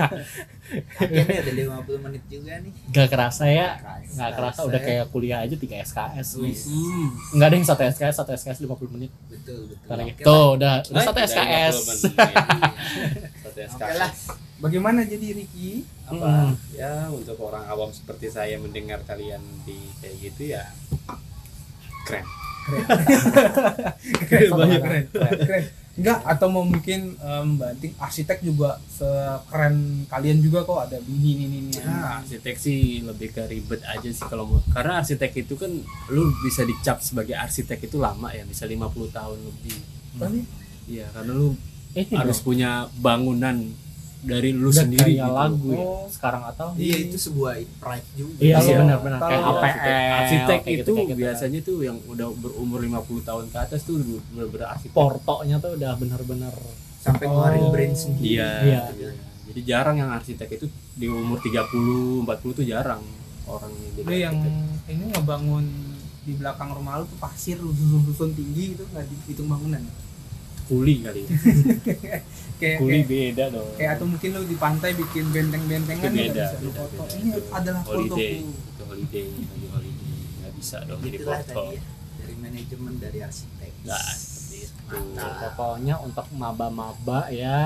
akhirnya udah 50 menit juga nih
gak kerasa ya Iya.
Kerasa.
gak kerasa udah kayak kuliah aja 3 SKS
Wis.
nggak ada yang satu SKS satu SKS 50 menit
betul betul
Ntar lagi.
Oke lah.
tuh udah Iya, udah
Nah,
satu
dari
SKS
50 menit. Satu
oke
SKS
lah
bagaimana jadi Ricky
apa
Hmm.
ya untuk orang awam seperti saya mendengar kalian di kayak gitu ya keren
keren
banget.
banget keren, keren. enggak atau mau mungkin em, banting arsitek juga sekeren kalian juga kok ada ini ini ini, ini
Nah, arsitek sih lebih ke ribet aja sih kalau mau- karena arsitek itu kan lu bisa dicap sebagai arsitek itu lama ya bisa 50 tahun lebih
Apa nih?
iya karena lu
eh
harus punya bangunan dari lu
udah
sendiri
kayak
gitu.
lagu ya
Oh.
sekarang atau
iya itu sebuah pride juga
iya
Kalau-
benar-benar kayak
kalau
APL
arsitek
kayak
itu
kayak gitu.
biasanya tuh yang udah berumur 50 tahun ke atas tuh bener-bener arsitek.
Oh, portonya tuh udah benar-benar
sampai ngeluarin
Oh.
brand sendiri
Iya.
Iya.
Jadi jarang yang arsitek itu di umur 30, 40 tuh jarang orang yang jadi
Lu yang
arsitek.
ini ngebangun di belakang rumah lu tuh pasir rusun-rusun tinggi itu nggak dihitung bangunan
kuli kali. ya.
kayak
kuli
kayak,
beda dong
kayak atau mungkin lu di pantai bikin
Itu
benteng-bentengan lu nggak
beda,
bisa lu
beda,
foto
beda.
ini
Itu
adalah
holiday,
fotoku
itu holiday, lagi holiday. Nggak bisa dong jadi
Itulah
foto.
tadi ya, dari manajemen dari arsitek
Nah, seperti itu.
Mantap.
pokoknya untuk maba-maba ya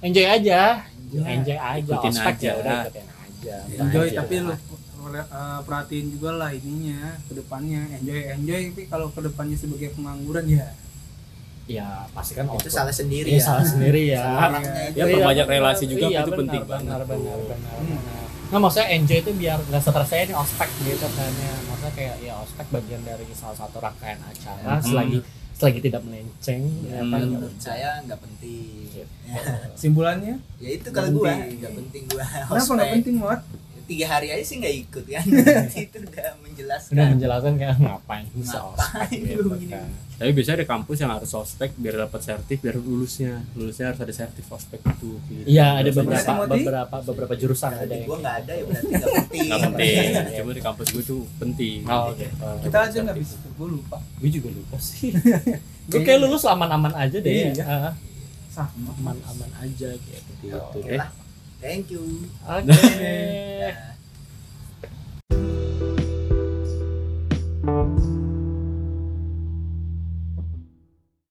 enjoy aja
Enjoy.
enjoy aja
Ikutin
ospek ya
aja.
udah ikutin aja
enjoy
Aja.
tapi lu eh, perhatiin juga lah ininya kedepannya enjoy enjoy tapi kalau kedepannya sebagai pengangguran ya
ya pasti kan
itu
output.
salah sendiri
Iya,
ya
salah sendiri ya
orangnya
Ya,
Iya,
perbanyak
benar.
relasi juga
Iya,
itu
benar,
penting
benar,
banget.
benar, benar, benar. Nah maksudnya enjoy itu biar nggak stres saya ini ospek gitu kan ya. Maksudnya kayak ya ospek bagian dari salah satu rangkaian acara
Hmm.
selagi selagi tidak melenceng ya kan.
Hmm.
menurut saya nggak penting
Iya.
ya,
simbolannya
ya itu kalau gua
Penting.
nggak penting gua
kenapa nggak
ospek.
penting banget
tiga hari aja sih nggak ikut kan itu udah
Udah
menjelaskan
menjelaskan kayak ngapain bisa ospek
Ngapain
gitu
lu gini?
kan.
Tapi biasanya ada kampus yang harus ospek biar dapat sertif, biar lulusnya. Lulusnya harus ada sertif ospek itu. gitu.
Iya ada beberapa
Masih mau di?
beberapa beberapa jurusan ada yang
Jadi gua nggak ada ya berarti nggak penting
Nggak penting. Cuma di kampus gue tuh penting.
Oh, oke.
kita aja nggak bisa gue lupa
Gue juga lupa sih. Gue kayak lulus aman-aman aja deh.
Iya.
Ah,
sama
Aman-aman aja gitu.
Gitu
oke
deh.
lah thank you
Oke.
Dah.